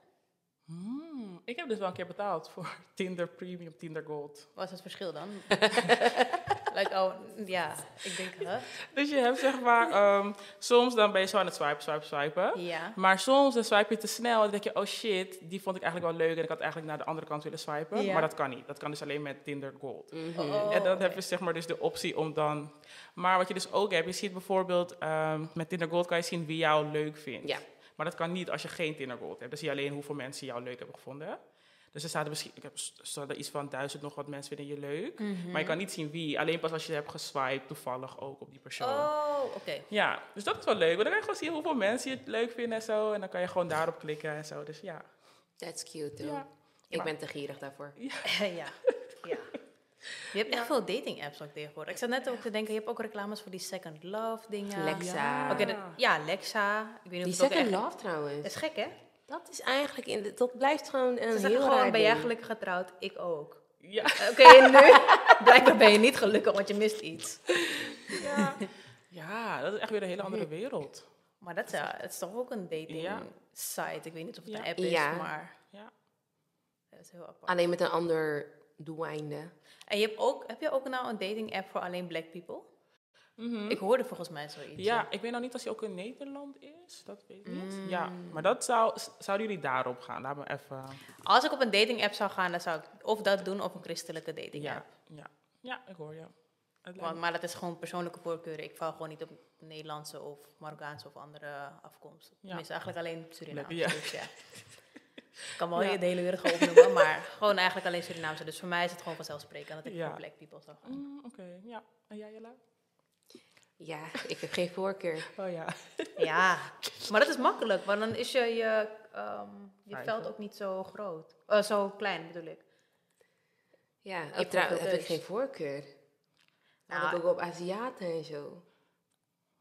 Speaker 4: Hmm, ik heb dus wel een keer betaald voor Tinder Premium, Tinder Gold.
Speaker 3: Wat is het verschil dan? like, oh, ja. Ik denk, huh?
Speaker 4: Dus je hebt zeg maar, ehm, soms dan ben je zo aan het swipen, swipen, swipen.
Speaker 3: Ja.
Speaker 4: Maar soms dan swipe je te snel en dan denk je, oh shit, die vond ik eigenlijk wel leuk en ik had eigenlijk naar de andere kant willen swipen.
Speaker 3: Ja.
Speaker 4: Maar dat kan niet. Dat kan dus alleen met Tinder Gold.
Speaker 2: Mhm.
Speaker 3: Oh,
Speaker 4: En dan
Speaker 3: oké.
Speaker 4: heb je zeg maar dus de optie om dan... Maar wat je dus ook hebt, je ziet bijvoorbeeld... ehm, met Tinder Gold kan je zien wie jou leuk vindt.
Speaker 2: Ja.
Speaker 4: Maar dat kan niet als je geen Tinder Gold hebt. Dan zie je alleen hoeveel mensen jou leuk hebben gevonden. Dus er staat er misschien, ik heb, er staat er iets van duizend nog wat mensen vinden je leuk. Maar je kan niet zien wie. Alleen pas als je hebt geswiped, toevallig ook op die persoon.
Speaker 3: Oh, oké.
Speaker 4: Ja, dus dat is wel leuk. Want dan kan je gewoon zien hoeveel mensen je het leuk vinden en zo. En dan kan je gewoon daarop klikken en zo. Dus ja.
Speaker 2: That's cute, though.
Speaker 4: Ja.
Speaker 2: Ik
Speaker 4: Maar-
Speaker 2: ben te gierig daarvoor.
Speaker 3: ja. ja. Je hebt echt veel dating apps ook tegenwoordig. Ik zat net ook te denken, je hebt ook reclames voor die second love dingen.
Speaker 2: Lexa.
Speaker 3: Oké, dat- ja, Lexa. Ik weet niet
Speaker 2: Die
Speaker 3: of het ook
Speaker 2: second
Speaker 3: echt-
Speaker 2: love
Speaker 3: Dat is
Speaker 2: trouwens.
Speaker 3: gek, hè?
Speaker 2: Dat is eigenlijk, in de- dat blijft gewoon een
Speaker 3: Ze
Speaker 2: heel
Speaker 3: zeggen gewoon,
Speaker 2: raar
Speaker 3: ben jij
Speaker 2: ding.
Speaker 3: gelukkig getrouwd? Ik ook.
Speaker 4: Ja.
Speaker 3: Oké, en nu? Blijkbaar ben je niet gelukkig, want je mist iets.
Speaker 4: Ja. ja, dat is echt weer een hele andere wereld.
Speaker 3: Maar dat is, ja, het is toch ook een dating
Speaker 4: Ja.
Speaker 3: site? Ik weet niet of het een
Speaker 4: Ja.
Speaker 3: app is,
Speaker 2: Ja.
Speaker 3: maar
Speaker 4: Ja.
Speaker 3: dat is heel apart.
Speaker 2: Alleen met een ander doeinde.
Speaker 3: En je hebt ook, heb je ook nou een dating app voor alleen black people?
Speaker 4: Mhm.
Speaker 3: Ik hoorde volgens mij zoiets.
Speaker 4: Ja, ik weet nou niet als hij ook in Nederland is. Dat weet ik niet. Ja, maar dat zou, s- zouden jullie daarop gaan? Laat me even.
Speaker 3: Als ik op een dating app zou gaan, dan zou ik of dat doen of een christelijke dating
Speaker 4: Ja,
Speaker 3: app.
Speaker 4: ja, ja, ik hoor je. Het lijkt
Speaker 3: Want, maar dat is gewoon persoonlijke voorkeur. Ik val gewoon niet op Nederlandse of Marokkaanse of andere afkomst. Tenminste, eigenlijk alleen Surinaamse.
Speaker 4: Black, ja.
Speaker 3: Dus ja. Ik kan wel
Speaker 4: Ja.
Speaker 3: de hele wereld gewoon opnoemen, maar gewoon eigenlijk alleen Surinaamse. Dus voor mij is het gewoon vanzelfsprekend dat ik
Speaker 4: Ja.
Speaker 3: voor black people zou gaan.
Speaker 4: me- Mm, Oké, ja. En jij, Jelle?
Speaker 2: Ja, ik heb geen voorkeur.
Speaker 4: Oh ja.
Speaker 3: Ja, maar dat is makkelijk, want dan is je, je, ehm, je
Speaker 4: Veilig.
Speaker 3: veld ook niet zo groot. Eh, zo klein bedoel ik.
Speaker 2: Ja,
Speaker 3: hebt
Speaker 2: ook dus. trouwens
Speaker 3: wel
Speaker 2: heb ik
Speaker 3: keus.
Speaker 2: geen voorkeur.
Speaker 3: Nou,
Speaker 2: Nou, ik ook op Aziaten en zo.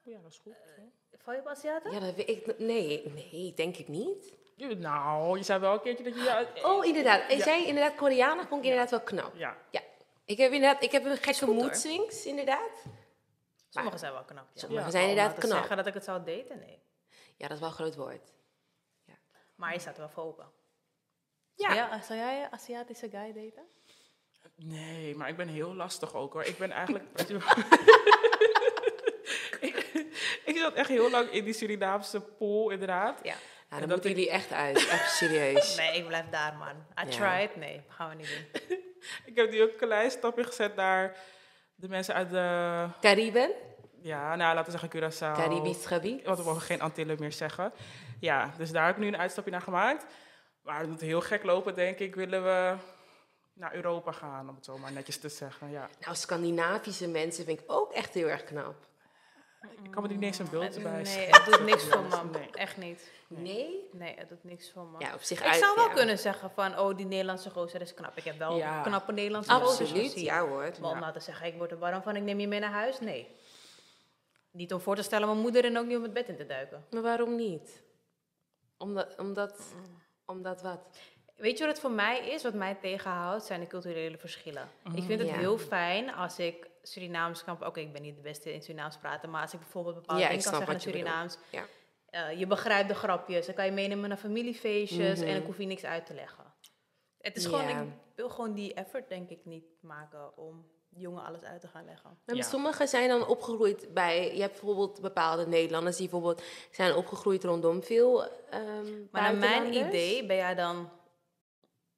Speaker 4: Oh Ja, dat is goed. hè.
Speaker 3: Val je op Aziaten?
Speaker 2: Ja, dat weet ik. Nee, nee, denk ik niet.
Speaker 4: Je- nou, je zei wel een keertje dat je. Ja, eh,
Speaker 2: Oh, inderdaad. En zij inderdaad Koreanen vond ik inderdaad wel knap.
Speaker 4: ja.
Speaker 2: Ja. Ik heb inderdaad, ik heb een gekke
Speaker 3: goed, hoor.
Speaker 2: mood swings, inderdaad.
Speaker 3: Sommigen zijn wel knap. Ja.
Speaker 2: Sommigen
Speaker 4: Ja.
Speaker 2: zijn inderdaad
Speaker 3: Om nou te
Speaker 2: knap.
Speaker 3: zeggen dat ik het zou daten, nee.
Speaker 2: Ja, dat is wel een groot woord.
Speaker 3: Maar je staat er wel voor open.
Speaker 2: Hmm. Ja.
Speaker 3: zou jij een Aziatische guy daten?
Speaker 4: Nee, maar ik ben heel lastig ook hoor. Ik ben eigenlijk. ik, ik zat echt heel lang in die Surinaamse pool, inderdaad.
Speaker 3: Ja.
Speaker 2: Ja,
Speaker 4: En
Speaker 2: dan
Speaker 4: dat
Speaker 2: moeten
Speaker 4: ik-
Speaker 2: jullie echt uit. Echt serieus.
Speaker 3: Nee, ik blijf daar, man.
Speaker 2: Ja.
Speaker 3: I tried. Nee, gaan we niet doen.
Speaker 4: Ik heb nu ook een klein stapje gezet naar de mensen uit de.
Speaker 2: Cariben,
Speaker 4: Ja, nou laten we zeggen Curaçao.
Speaker 2: Caribisch gebied.
Speaker 4: Want we mogen geen Antillen meer zeggen. Ja, dus daar heb ik nu een uitstapje naar gemaakt. Maar het moet heel gek lopen, denk ik. Willen we naar Europa gaan, om het zo maar netjes te zeggen. Ja,
Speaker 2: Nou, Scandinavische mensen vind ik ook echt heel erg knap.
Speaker 4: ik kan me er niet eens een beeld bij
Speaker 3: Mm, Nee,
Speaker 4: schieten.
Speaker 3: het doet niks voor me.
Speaker 4: Nee.
Speaker 3: Echt niet.
Speaker 2: Nee?
Speaker 3: Nee, het doet niks voor me.
Speaker 2: Ja, op zich
Speaker 3: ik
Speaker 2: uit,
Speaker 3: zou wel
Speaker 2: ja.
Speaker 3: kunnen zeggen van, oh, die Nederlandse gozer is knap. Ik heb wel
Speaker 4: Ja.
Speaker 3: knappe Nederlandse gozers
Speaker 2: Absoluut,
Speaker 3: gezien.
Speaker 2: ja hoor.
Speaker 3: Maar om nou te zeggen, ik word er warm van, ik neem je mee naar huis? Nee. Niet om voor te stellen mijn moeder en ook niet om het bed in te duiken.
Speaker 2: Maar waarom niet? Omdat, omdat,
Speaker 3: Mm.
Speaker 2: omdat wat?
Speaker 3: Weet je wat het voor mij is? Wat mij tegenhoudt, zijn de culturele verschillen. Ik vind het
Speaker 2: Mm. Ja.
Speaker 3: heel fijn als ik Surinaams kan... Oké, ik ben niet de beste in Surinaams praten, maar als ik bijvoorbeeld bepaalde
Speaker 2: Ja, ik
Speaker 3: dingen kan
Speaker 2: snap
Speaker 3: zeggen in
Speaker 2: wat je bedoelt.
Speaker 3: Surinaams...
Speaker 2: Ja.
Speaker 3: eh, je begrijpt de grapjes, dan kan je meenemen naar familiefeestjes en ik hoef je niks uit te leggen. Het is gewoon,
Speaker 2: Mhm. Ja.
Speaker 3: ik wil gewoon die effort denk ik niet maken om jongen alles uit te gaan leggen.
Speaker 2: Nou, Maar
Speaker 4: Ja.
Speaker 2: Sommigen zijn dan opgegroeid bij... Je hebt bijvoorbeeld bepaalde Nederlanders die bijvoorbeeld zijn opgegroeid rondom veel ehm
Speaker 3: Maar naar mijn
Speaker 2: buitenlanders.
Speaker 3: idee ben jij dan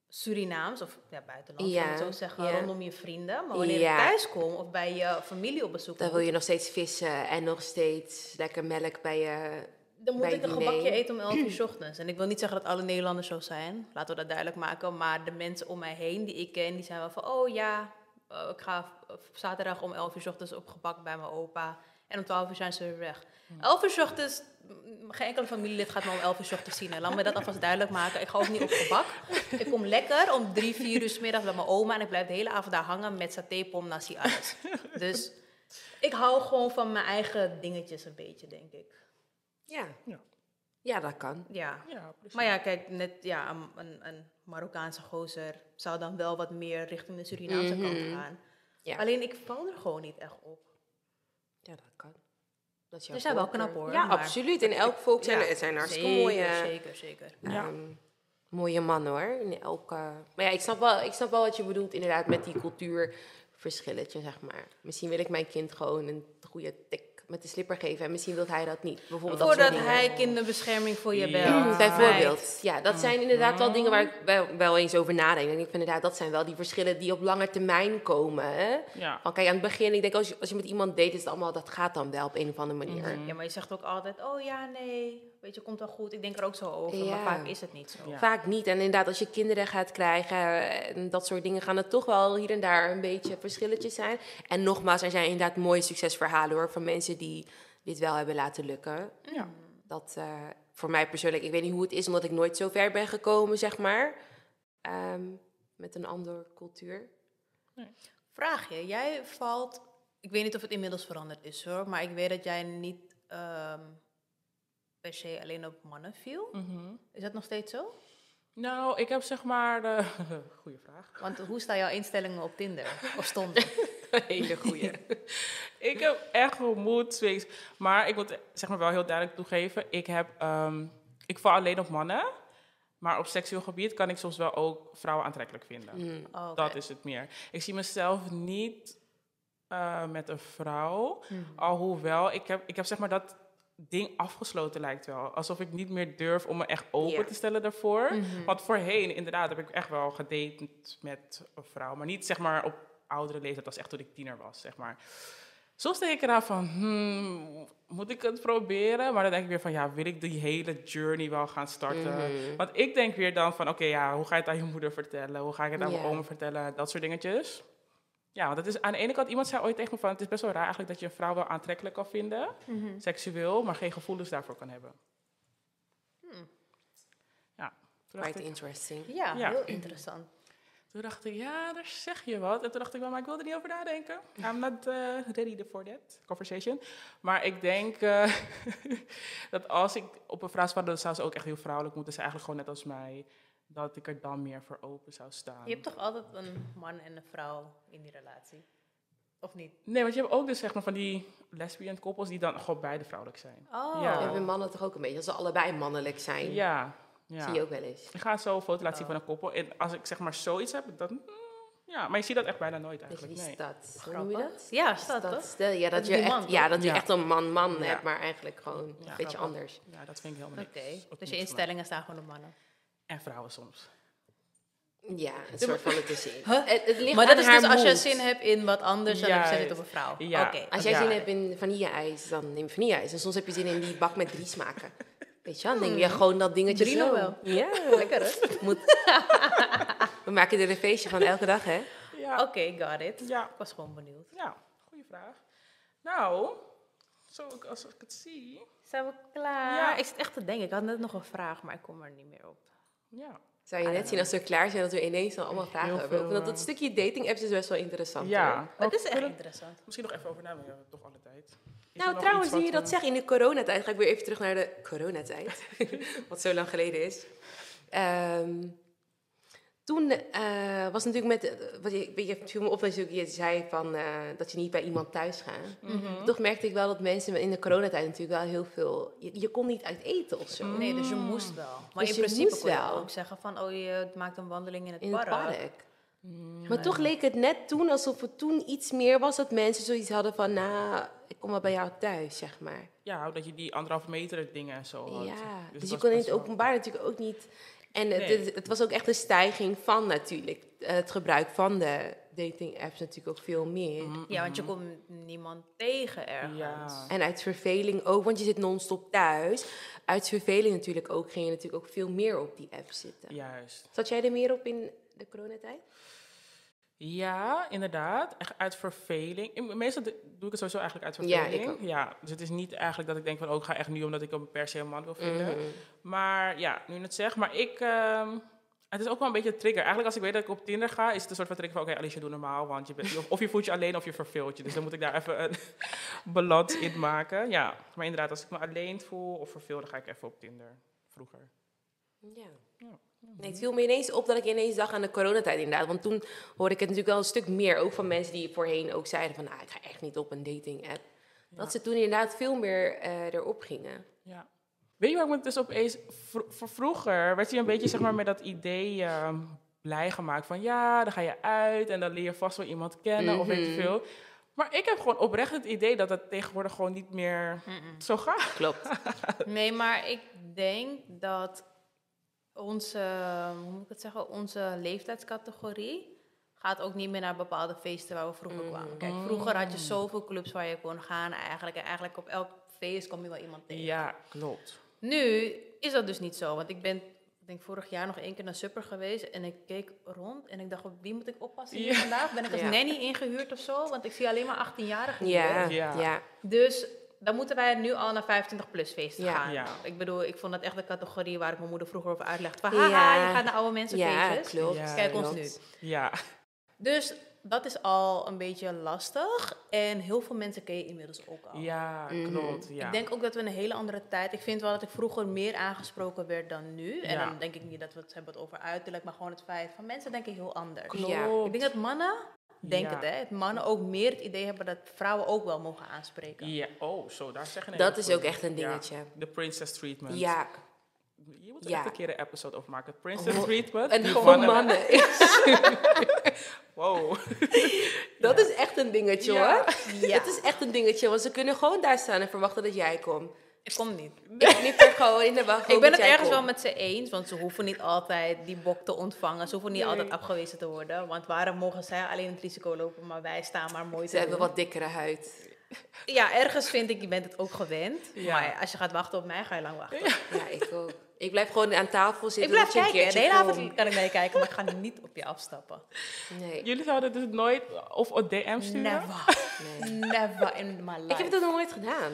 Speaker 3: Surinaams of ja, buitenlands,
Speaker 2: Ja,
Speaker 3: laat ik het zo zeggen,
Speaker 2: ja.
Speaker 3: rondom je vrienden. Maar wanneer
Speaker 2: Ja.
Speaker 3: ik thuis kom of bij je familie op bezoek
Speaker 2: Dan
Speaker 3: moet,
Speaker 2: wil je nog steeds vissen en nog steeds lekker melk bij je...
Speaker 3: dan moet
Speaker 2: bij
Speaker 3: ik een
Speaker 2: diner.
Speaker 3: gebakje eten om 11 uur 's ochtends. En ik wil niet zeggen dat alle Nederlanders zo zijn, laten we dat duidelijk maken. Maar de mensen om mij heen die ik ken, die zijn wel van, oh ja, eh, ik ga v- eh, zaterdag om 11 uur 's ochtends op gebak bij mijn opa. En om 12 uur zijn ze weer weg. 11 uur 's ochtends, m, geen enkele familielid gaat me om 11 uur 's ochtends zien. hè. Laat me dat alvast duidelijk maken. Ik ga ook niet op gebak. Ik kom lekker om 3, 4 uur 's middags bij mijn oma. En ik blijf de hele avond daar hangen met saté, pom, nasi, alles. Dus ik hou gewoon van mijn eigen dingetjes een beetje, denk ik.
Speaker 2: Ja.
Speaker 4: Ja.
Speaker 2: Ja, dat kan.
Speaker 3: Ja.
Speaker 4: Ja, precies.
Speaker 3: Maar ja, kijk, net ja, een, een, een Marokkaanse gozer zou dan wel wat meer richting de Surinaamse kant gaan.
Speaker 2: Mhm. Ja.
Speaker 3: Alleen ik val er gewoon niet echt op.
Speaker 2: Ja, dat kan. Dat is jouw
Speaker 3: Er zijn wel
Speaker 2: voorkeur.
Speaker 3: knap hoor.
Speaker 2: Ja,
Speaker 3: maar-
Speaker 2: absoluut. In elk volk zijn
Speaker 3: Ja,
Speaker 2: er, het zijn hartstikke
Speaker 3: zeker,
Speaker 2: mooie...
Speaker 3: Zeker, zeker.
Speaker 4: Ja.
Speaker 2: Ehm, mooie man hoor. In elke... Maar ja, ik snap, wel, ik snap wel wat je bedoelt inderdaad met die cultuurverschilletje, zeg maar. Misschien wil ik mijn kind gewoon een goede tik met de slipper geven en misschien wil hij dat niet. Bijvoorbeeld dat soort
Speaker 3: Voordat
Speaker 2: dingen.
Speaker 3: hij kinderbescherming voor je
Speaker 4: Ja.
Speaker 3: belt.
Speaker 4: Mm,
Speaker 2: Bijvoorbeeld. Ja, dat
Speaker 3: Mm.
Speaker 2: zijn inderdaad wel dingen waar ik wel, wel eens over nadenk. En ik vind inderdaad, dat zijn wel die verschillen die op lange termijn komen. Hè?
Speaker 4: Ja.
Speaker 2: Want kijk, aan het begin, ik denk
Speaker 4: Mhm.
Speaker 2: als je, als je met iemand date, is het allemaal, dat gaat dan wel op een of andere manier.
Speaker 3: Ja, maar je zegt ook altijd, oh ja, nee, weet je, komt wel goed. Ik denk er ook zo over, maar
Speaker 2: Ja.
Speaker 3: vaak is het niet zo.
Speaker 4: Ja.
Speaker 2: Vaak niet. En inderdaad, als je kinderen gaat krijgen eh, en dat soort dingen, gaan er toch wel hier en daar een beetje verschilletjes zijn. En nogmaals, er zijn inderdaad mooie succesverhalen hoor, van mensen die dit wel hebben laten lukken.
Speaker 4: Ja.
Speaker 2: Dat eh, voor mij persoonlijk, ik weet niet hoe het is, omdat ik nooit zo ver ben gekomen, zeg maar. Ehm, met een andere cultuur.
Speaker 3: Vraag je, jij valt, ik weet niet of het inmiddels veranderd is hoor, maar ik weet dat jij niet ehm, per se alleen op mannen viel.
Speaker 2: Mm.
Speaker 4: Mhm.
Speaker 3: Is dat nog steeds zo?
Speaker 4: Nou, ik heb zeg maar... De... Goeie vraag.
Speaker 3: Want hoe staan jouw instellingen op Tinder? Of stonden?
Speaker 2: Hele goede.
Speaker 4: ik heb echt wel mood swings. Maar ik wil het, zeg maar wel heel duidelijk toegeven. Ik, heb, ehm, ik val alleen op mannen. Maar op seksueel gebied kan ik soms wel ook vrouwen aantrekkelijk vinden.
Speaker 3: Oh, oké.
Speaker 4: Dat is het meer. Ik zie mezelf niet eh, met een vrouw.
Speaker 3: Mhm.
Speaker 4: Alhoewel, ik heb, ik heb zeg maar dat ding afgesloten lijkt wel. Alsof ik niet meer durf om me echt open
Speaker 2: Ja.
Speaker 4: te stellen daarvoor.
Speaker 3: Mhm.
Speaker 4: Want voorheen, inderdaad, heb ik echt wel gedate met een vrouw. Maar niet zeg maar op oudere leeftijd. Dat was echt toen ik tiener was, zeg maar. Soms denk ik eraan van, hmm, moet ik het proberen? Maar dan denk ik weer van, ja, wil ik die hele journey wel gaan starten? Want ik denk weer dan van, oké, ja, hoe ga je het aan je moeder vertellen? Hoe ga ik het aan
Speaker 2: Ja.
Speaker 4: mijn oom vertellen? Dat soort dingetjes. Ja, want het is aan de ene kant, iemand zei ooit tegen me van, het is best wel raar eigenlijk dat je een vrouw wel aantrekkelijk kan vinden, seksueel, maar geen gevoelens daarvoor kan hebben. Ja, toen dacht,
Speaker 2: Quite
Speaker 4: ik,
Speaker 2: interesting.
Speaker 3: Ja,
Speaker 4: Ja.
Speaker 3: heel interessant.
Speaker 4: toen dacht ik, ja, daar zeg je wat. En toen dacht ik, wel, maar ik wil er niet over nadenken. I'm not eh, ready for that conversation. Maar ik denk eh, dat als ik op een vrouw zou, dan zou ze ook echt heel vrouwelijk moeten zijn, eigenlijk gewoon net als mij, dat ik er dan meer voor open zou staan.
Speaker 3: Je hebt toch altijd een man en een vrouw in die relatie? Of niet?
Speaker 4: Nee, want je hebt ook dus zeg maar van die lesbian koppels die dan gewoon beide vrouwelijk zijn.
Speaker 3: Oh.
Speaker 4: Ja.
Speaker 2: Hebben mannen toch ook een beetje, dat ze allebei mannelijk zijn.
Speaker 4: Ja, ja.
Speaker 2: Zie je ook wel eens.
Speaker 4: Ik ga zo een foto
Speaker 3: Oh.
Speaker 4: laten zien van een koppel. En als ik zeg maar zoiets heb, dan... mm, ja, maar je ziet dat echt bijna nooit
Speaker 2: Dat je die
Speaker 4: eigenlijk. Nee.
Speaker 2: stad. Hoe noem je
Speaker 3: Grappig.
Speaker 2: dat?
Speaker 3: Ja, staat
Speaker 2: Stad-
Speaker 3: toch?
Speaker 2: stel- ja, dat
Speaker 3: is
Speaker 2: je,
Speaker 3: die man,
Speaker 2: echt,
Speaker 3: toch?
Speaker 2: ja, dat je
Speaker 4: Ja.
Speaker 2: echt een man-man
Speaker 4: Ja.
Speaker 2: hebt, maar eigenlijk gewoon een beetje
Speaker 4: grappig.
Speaker 2: anders.
Speaker 4: Ja, dat vind ik helemaal
Speaker 3: Oké,
Speaker 4: niks. Ook
Speaker 3: dus
Speaker 4: niks
Speaker 3: je
Speaker 4: van
Speaker 3: instellingen staan gewoon op mannen.
Speaker 4: mij. En vrouwen soms.
Speaker 2: Ja, een soort van het is in.
Speaker 3: Huh?
Speaker 2: Het, het ligt
Speaker 3: Maar dat
Speaker 2: aan
Speaker 3: is
Speaker 2: haar
Speaker 3: dus als je
Speaker 2: mood.
Speaker 3: zin hebt in wat anders, dan heb je zin
Speaker 4: Juist.
Speaker 3: op een vrouw.
Speaker 4: Ja.
Speaker 3: Oké,
Speaker 2: Als
Speaker 4: Ja.
Speaker 2: jij zin hebt in vanille-ijs, dan neem je vanille-ijs. En soms heb je zin in die bak met drie smaken. Weet je wel, dan neem je gewoon dat dingetje
Speaker 3: Hmm. Drie
Speaker 2: zo.
Speaker 3: nog wel.
Speaker 2: Ja,
Speaker 3: lekker hè?
Speaker 2: moet... We maken er een feestje van elke dag, hè?
Speaker 4: Ja,
Speaker 3: Oké, got it.
Speaker 4: ja,
Speaker 3: Ik was gewoon benieuwd.
Speaker 4: ja. Goeie vraag. Nou, zo ik- als ik het zie...
Speaker 3: Zijn we klaar?
Speaker 4: Ja.
Speaker 3: Ik zit echt te denken. Ik had net nog een vraag, maar ik kom er niet meer op.
Speaker 4: Ja,
Speaker 2: Zou je net zien als we klaar zijn dat we ineens al allemaal vragen
Speaker 4: Heel
Speaker 2: hebben.
Speaker 4: veel,
Speaker 2: Want dat, dat
Speaker 4: eh,
Speaker 2: stukje dating apps is best wel interessant. hoor.
Speaker 4: ja.
Speaker 3: Maar het
Speaker 4: Ook
Speaker 3: is echt
Speaker 4: willen-
Speaker 3: interessant.
Speaker 4: Misschien nog even over nadenken, we hebben toch alle tijd. Is er
Speaker 2: Nou,
Speaker 4: nog
Speaker 2: trouwens,
Speaker 4: iets
Speaker 2: nu
Speaker 4: wat eh,
Speaker 2: je dat
Speaker 4: we-
Speaker 2: zegt, in de coronatijd ga ik weer even terug naar de coronatijd. wat zo lang geleden is. Ehm, toen eh, was natuurlijk met, wat je, je hebt- viel me op dat je, ook- je zei van, eh, dat je niet bij iemand thuis gaat.
Speaker 4: Mhm.
Speaker 2: Toch merkte ik wel dat mensen in de coronatijd natuurlijk wel heel veel... Je, je kon niet uit eten of
Speaker 4: Mm.
Speaker 2: zo.
Speaker 3: Nee, dus je moest wel. Maar
Speaker 2: Dus je
Speaker 3: in principe
Speaker 2: moest
Speaker 3: kon je
Speaker 2: wel.
Speaker 3: ook zeggen van, oh, je maakt een wandeling in het,
Speaker 2: in het
Speaker 3: park.
Speaker 2: park.
Speaker 4: Mm.
Speaker 2: Maar toch leek het net toen alsof het toen iets meer was dat mensen zoiets hadden van, nou, ik kom wel bij jou thuis, zeg maar.
Speaker 4: Ja, dat je die anderhalve meter dingen en zo had.
Speaker 2: Ja, dus,
Speaker 4: het
Speaker 2: je
Speaker 4: was
Speaker 2: kon in
Speaker 4: best
Speaker 2: het
Speaker 4: wel-
Speaker 2: openbaar natuurlijk ook niet. En het,
Speaker 4: Nee.
Speaker 2: het, het was ook echt een stijging van natuurlijk eh, het gebruik van de dating apps natuurlijk ook veel meer.
Speaker 4: Mhm.
Speaker 3: Ja, want je komt niemand tegen ergens.
Speaker 4: Ja.
Speaker 2: En uit verveling ook, want je zit non-stop thuis. Uit verveling natuurlijk ook ging je natuurlijk ook veel meer op die app zitten.
Speaker 4: Juist.
Speaker 2: Zat jij er meer op in de coronatijd?
Speaker 4: Ja, inderdaad. Echt uit verveling. In- Meestal doe ik het sowieso eigenlijk uit
Speaker 2: Ja, ik
Speaker 4: verveling.
Speaker 2: ook.
Speaker 4: dus het is niet eigenlijk dat ik denk van... ook ga echt nu omdat ik hem per se een man wil vinden.
Speaker 2: Mhm.
Speaker 4: Maar ja, nu je het zegt. Maar ik... ehm, het is ook wel een beetje een trigger. Eigenlijk als ik weet dat ik op Tinder ga... is het een soort van trigger van... oké, Alicia, doe normaal. Want je bent, of, of je voelt je alleen of je verveelt je. Dus dan moet ik daar even een balans in maken. Ja, maar inderdaad. Als ik me alleen voel of verveel... dan ga ik even op Tinder. Vroeger.
Speaker 2: Ja. Nee, het viel me ineens op dat ik ineens dacht aan de coronatijd inderdaad. Want toen hoorde ik het natuurlijk wel een stuk meer. Ook van mensen die voorheen ook zeiden van... Ah, ik ga echt niet op een dating app. Dat ze toen inderdaad veel meer eh, erop gingen.
Speaker 4: Ja. Weet je waar ik me dus opeens... vro- voor vroeger werd je een beetje zeg maar, met dat idee ehm, blij gemaakt van... ja, dan ga je uit en dan leer je vast wel iemand kennen of weet
Speaker 2: Mhm.
Speaker 4: je veel. Maar ik heb gewoon oprecht het idee dat dat tegenwoordig gewoon niet meer zo gaat.
Speaker 2: Klopt.
Speaker 3: Nee, maar ik denk dat onze, hoe moet ik het zeggen, onze leeftijdscategorie gaat ook niet meer naar bepaalde feesten waar we vroeger kwamen. Kijk, vroeger had je zoveel clubs waar je kon gaan eigenlijk. En eigenlijk op elk feest kom je wel iemand tegen.
Speaker 4: Ja, klopt.
Speaker 3: Nu is dat dus niet zo, want ik ben ik denk vorig jaar nog één keer naar Supper geweest en ik keek rond en ik dacht, op wie moet ik oppassen hier
Speaker 4: Ja.
Speaker 3: vandaag? Ben ik als
Speaker 2: Ja.
Speaker 3: nanny ingehuurd of zo? Want ik zie alleen maar 18-jarigen hier.
Speaker 2: Ja,
Speaker 4: Ja.
Speaker 2: ja.
Speaker 3: Dus dan moeten wij nu al naar 25-plus feesten
Speaker 2: Ja.
Speaker 3: gaan.
Speaker 4: Ja.
Speaker 3: Ik bedoel, ik vond dat echt de categorie waar ik mijn moeder vroeger over uitlegde. Van,
Speaker 2: Ja.
Speaker 3: haha, je gaat naar oude mensen
Speaker 2: Ja,
Speaker 3: feestjes. Dus
Speaker 2: klopt.
Speaker 4: Ja,
Speaker 3: Kijk ons
Speaker 2: klopt.
Speaker 3: nu.
Speaker 4: Ja.
Speaker 3: Dus dat is al een beetje lastig. En heel veel mensen ken je inmiddels ook al.
Speaker 4: Ja,
Speaker 2: Mhm.
Speaker 4: klopt. Ja.
Speaker 3: Ik denk ook dat we in een hele andere tijd. Ik vind wel dat ik vroeger meer aangesproken werd dan nu. En
Speaker 4: Ja.
Speaker 3: dan denk ik niet dat we het hebben over uiterlijk, maar gewoon het feit van mensen denken heel anders.
Speaker 2: Klopt.
Speaker 3: Ik denk dat mannen, denk
Speaker 4: Ja.
Speaker 3: het hè, dat mannen ook meer het idee hebben dat vrouwen ook wel mogen aanspreken.
Speaker 4: Ja, oh, zo, daar zeggen een
Speaker 2: Dat
Speaker 4: hele
Speaker 2: is ook
Speaker 4: goeie.
Speaker 2: echt een dingetje.
Speaker 4: Ja, De princess treatment.
Speaker 2: Ja,
Speaker 4: Je moet er
Speaker 2: Ja.
Speaker 4: echt een keer een episode over maken. Princess
Speaker 2: Oh,
Speaker 4: treatment.
Speaker 2: en
Speaker 4: die
Speaker 2: gewoon
Speaker 4: mannen-
Speaker 2: mannen.
Speaker 4: Wow.
Speaker 2: Dat is echt een dingetje
Speaker 4: Ja.
Speaker 2: hoor.
Speaker 3: Ja.
Speaker 2: Dat is echt een dingetje, want ze kunnen gewoon daar staan en verwachten dat jij komt.
Speaker 3: Ik kom niet.
Speaker 2: Ik knipper gewoon in de wacht.
Speaker 3: ik ben het ergens wel met ze eens, want ze hoeven niet altijd die bok te ontvangen. Ze hoeven niet altijd afgewezen te worden. Want waarom mogen zij alleen het risico lopen, maar wij staan maar mooi te
Speaker 2: Ze hebben
Speaker 3: doen?
Speaker 2: wat dikkere huid.
Speaker 3: Ja, ergens vind ik, je bent het ook gewend.
Speaker 4: Ja.
Speaker 3: Maar als je gaat wachten op mij, ga je lang wachten.
Speaker 2: Ja, ik ook. Ik blijf gewoon aan tafel zitten.
Speaker 3: Ik blijf
Speaker 2: tot je een
Speaker 3: kijken. De hele
Speaker 2: keertje
Speaker 3: avond kan ik naar je kijken, maar ik ga niet op je afstappen.
Speaker 2: komt. Nee,
Speaker 4: Jullie zouden dus nooit of een DM sturen?
Speaker 3: Never.
Speaker 2: nee.
Speaker 3: Never in my life.
Speaker 2: Ik heb dat nog nooit gedaan.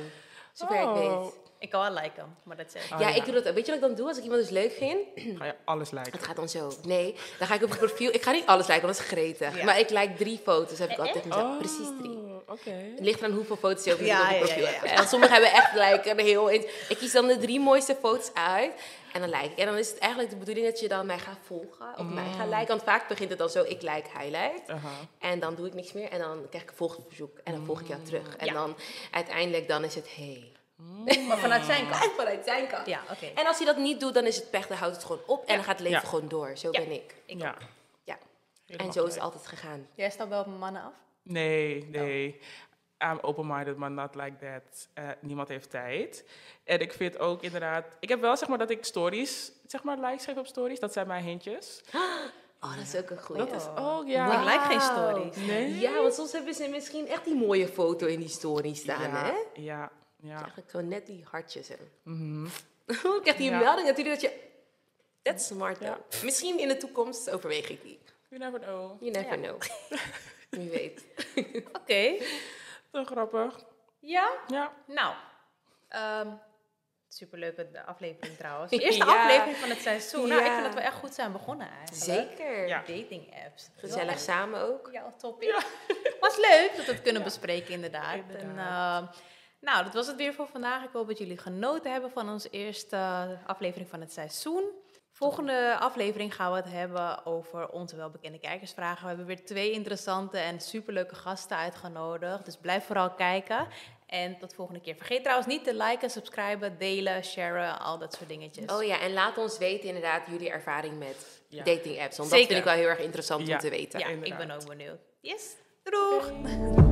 Speaker 2: Zover
Speaker 3: Oh.
Speaker 2: ik weet.
Speaker 3: Ik kan wel liken, maar dat zeg ik.
Speaker 4: Ah,
Speaker 2: ja,
Speaker 4: ja.
Speaker 2: ik doe dat. Weet je wat ik dan doe als ik iemand dus leuk vind?
Speaker 4: Oh. Ga je alles lijken?
Speaker 2: Het gaat dan zo. Nee, dan ga ik op het profiel. Ik ga niet alles lijken, want dat is gretig.
Speaker 3: Ja. Eh,
Speaker 2: Maar ik like drie foto's, heb ik altijd tegen mezelf. Precies drie.
Speaker 4: Oh, Oké.
Speaker 2: Het ligt aan hoeveel foto's je ook
Speaker 3: Ja,
Speaker 2: op je
Speaker 3: ja,
Speaker 2: profiel
Speaker 3: ja, ja.
Speaker 2: hebt. En sommigen hebben echt like een heel... int- Ik kies dan de drie mooiste foto's uit en dan like ik. En dan is het eigenlijk de bedoeling dat je dan mij gaat volgen
Speaker 3: Mm.
Speaker 2: of mij gaat liken. Want vaak begint het dan zo, ik like, hij like.
Speaker 4: Aha.
Speaker 2: En dan doe ik niks meer en dan krijg ik een volgverzoek. En dan volg ik jou terug. En
Speaker 3: Ja.
Speaker 2: dan uiteindelijk dan is het, hey.
Speaker 3: Maar vanuit zijn kant.
Speaker 2: En Oh. vanuit zijn kant.
Speaker 3: Ja, oké.
Speaker 2: En als je dat niet doet, dan is het pech. Dan houdt het gewoon op en dan gaat het leven
Speaker 4: Ja.
Speaker 2: gewoon door. Zo ben ik.
Speaker 4: Ja.
Speaker 2: Ja.
Speaker 4: Helemaal
Speaker 2: en zo is het
Speaker 4: gelijk.
Speaker 2: altijd gegaan.
Speaker 3: Jij stapt wel op mijn mannen af?
Speaker 4: Nee, nee. I'm open-minded, maar not like that. Eh, niemand heeft tijd. En ik vind ook inderdaad... Ik heb wel zeg maar dat ik stories, zeg maar likes geef op stories. Dat zijn mijn hintjes.
Speaker 2: Oh, dat is ook een goeie.
Speaker 4: Dat is ook, ja.
Speaker 3: Maar ik like geen stories.
Speaker 4: Nee?
Speaker 2: Ja, want soms hebben ze misschien echt die mooie foto in die story staan,
Speaker 4: ja,
Speaker 2: hè?
Speaker 4: Ja, ja.
Speaker 2: Eigenlijk gewoon net die hartjes hè. ik krijg die
Speaker 4: Ja.
Speaker 2: melding natuurlijk dat je... That's smart,
Speaker 4: Ja.
Speaker 2: though. Misschien in de toekomst overweeg ik die.
Speaker 4: You never know.
Speaker 2: You never know. Wie weet.
Speaker 3: Oké.
Speaker 4: Zo grappig.
Speaker 3: Ja?
Speaker 4: Ja.
Speaker 3: Nou. ehm superleuke de aflevering trouwens. De eerste
Speaker 2: Ja.
Speaker 3: aflevering van het seizoen. Nou, ik
Speaker 2: Ja.
Speaker 3: vind dat we echt goed zijn begonnen eigenlijk.
Speaker 2: Zeker.
Speaker 4: Ja.
Speaker 3: Dating apps.
Speaker 2: Gezellig samen ook.
Speaker 3: Ja, topic. Was leuk dat we het kunnen bespreken, inderdaad.
Speaker 4: Inderdaad.
Speaker 3: En, ehm, nou, dat was het weer voor vandaag. Ik hoop dat jullie genoten hebben van onze eerste aflevering van het seizoen. Volgende aflevering gaan we het hebben over onze welbekende kijkersvragen. We hebben weer twee interessante en superleuke gasten uitgenodigd. Dus blijf vooral kijken. En tot volgende keer. Vergeet trouwens niet te liken, subscriben, delen, sharen, al dat soort dingetjes.
Speaker 2: Oh ja, en laat ons weten inderdaad jullie ervaring met
Speaker 4: Ja.
Speaker 2: dating apps. Want
Speaker 3: Zeker.
Speaker 2: dat vind ik wel heel erg interessant
Speaker 4: Ja.
Speaker 2: om te weten.
Speaker 3: ja, ik
Speaker 4: inderdaad.
Speaker 3: ben ook benieuwd. Yes, doeg!
Speaker 4: Doeg.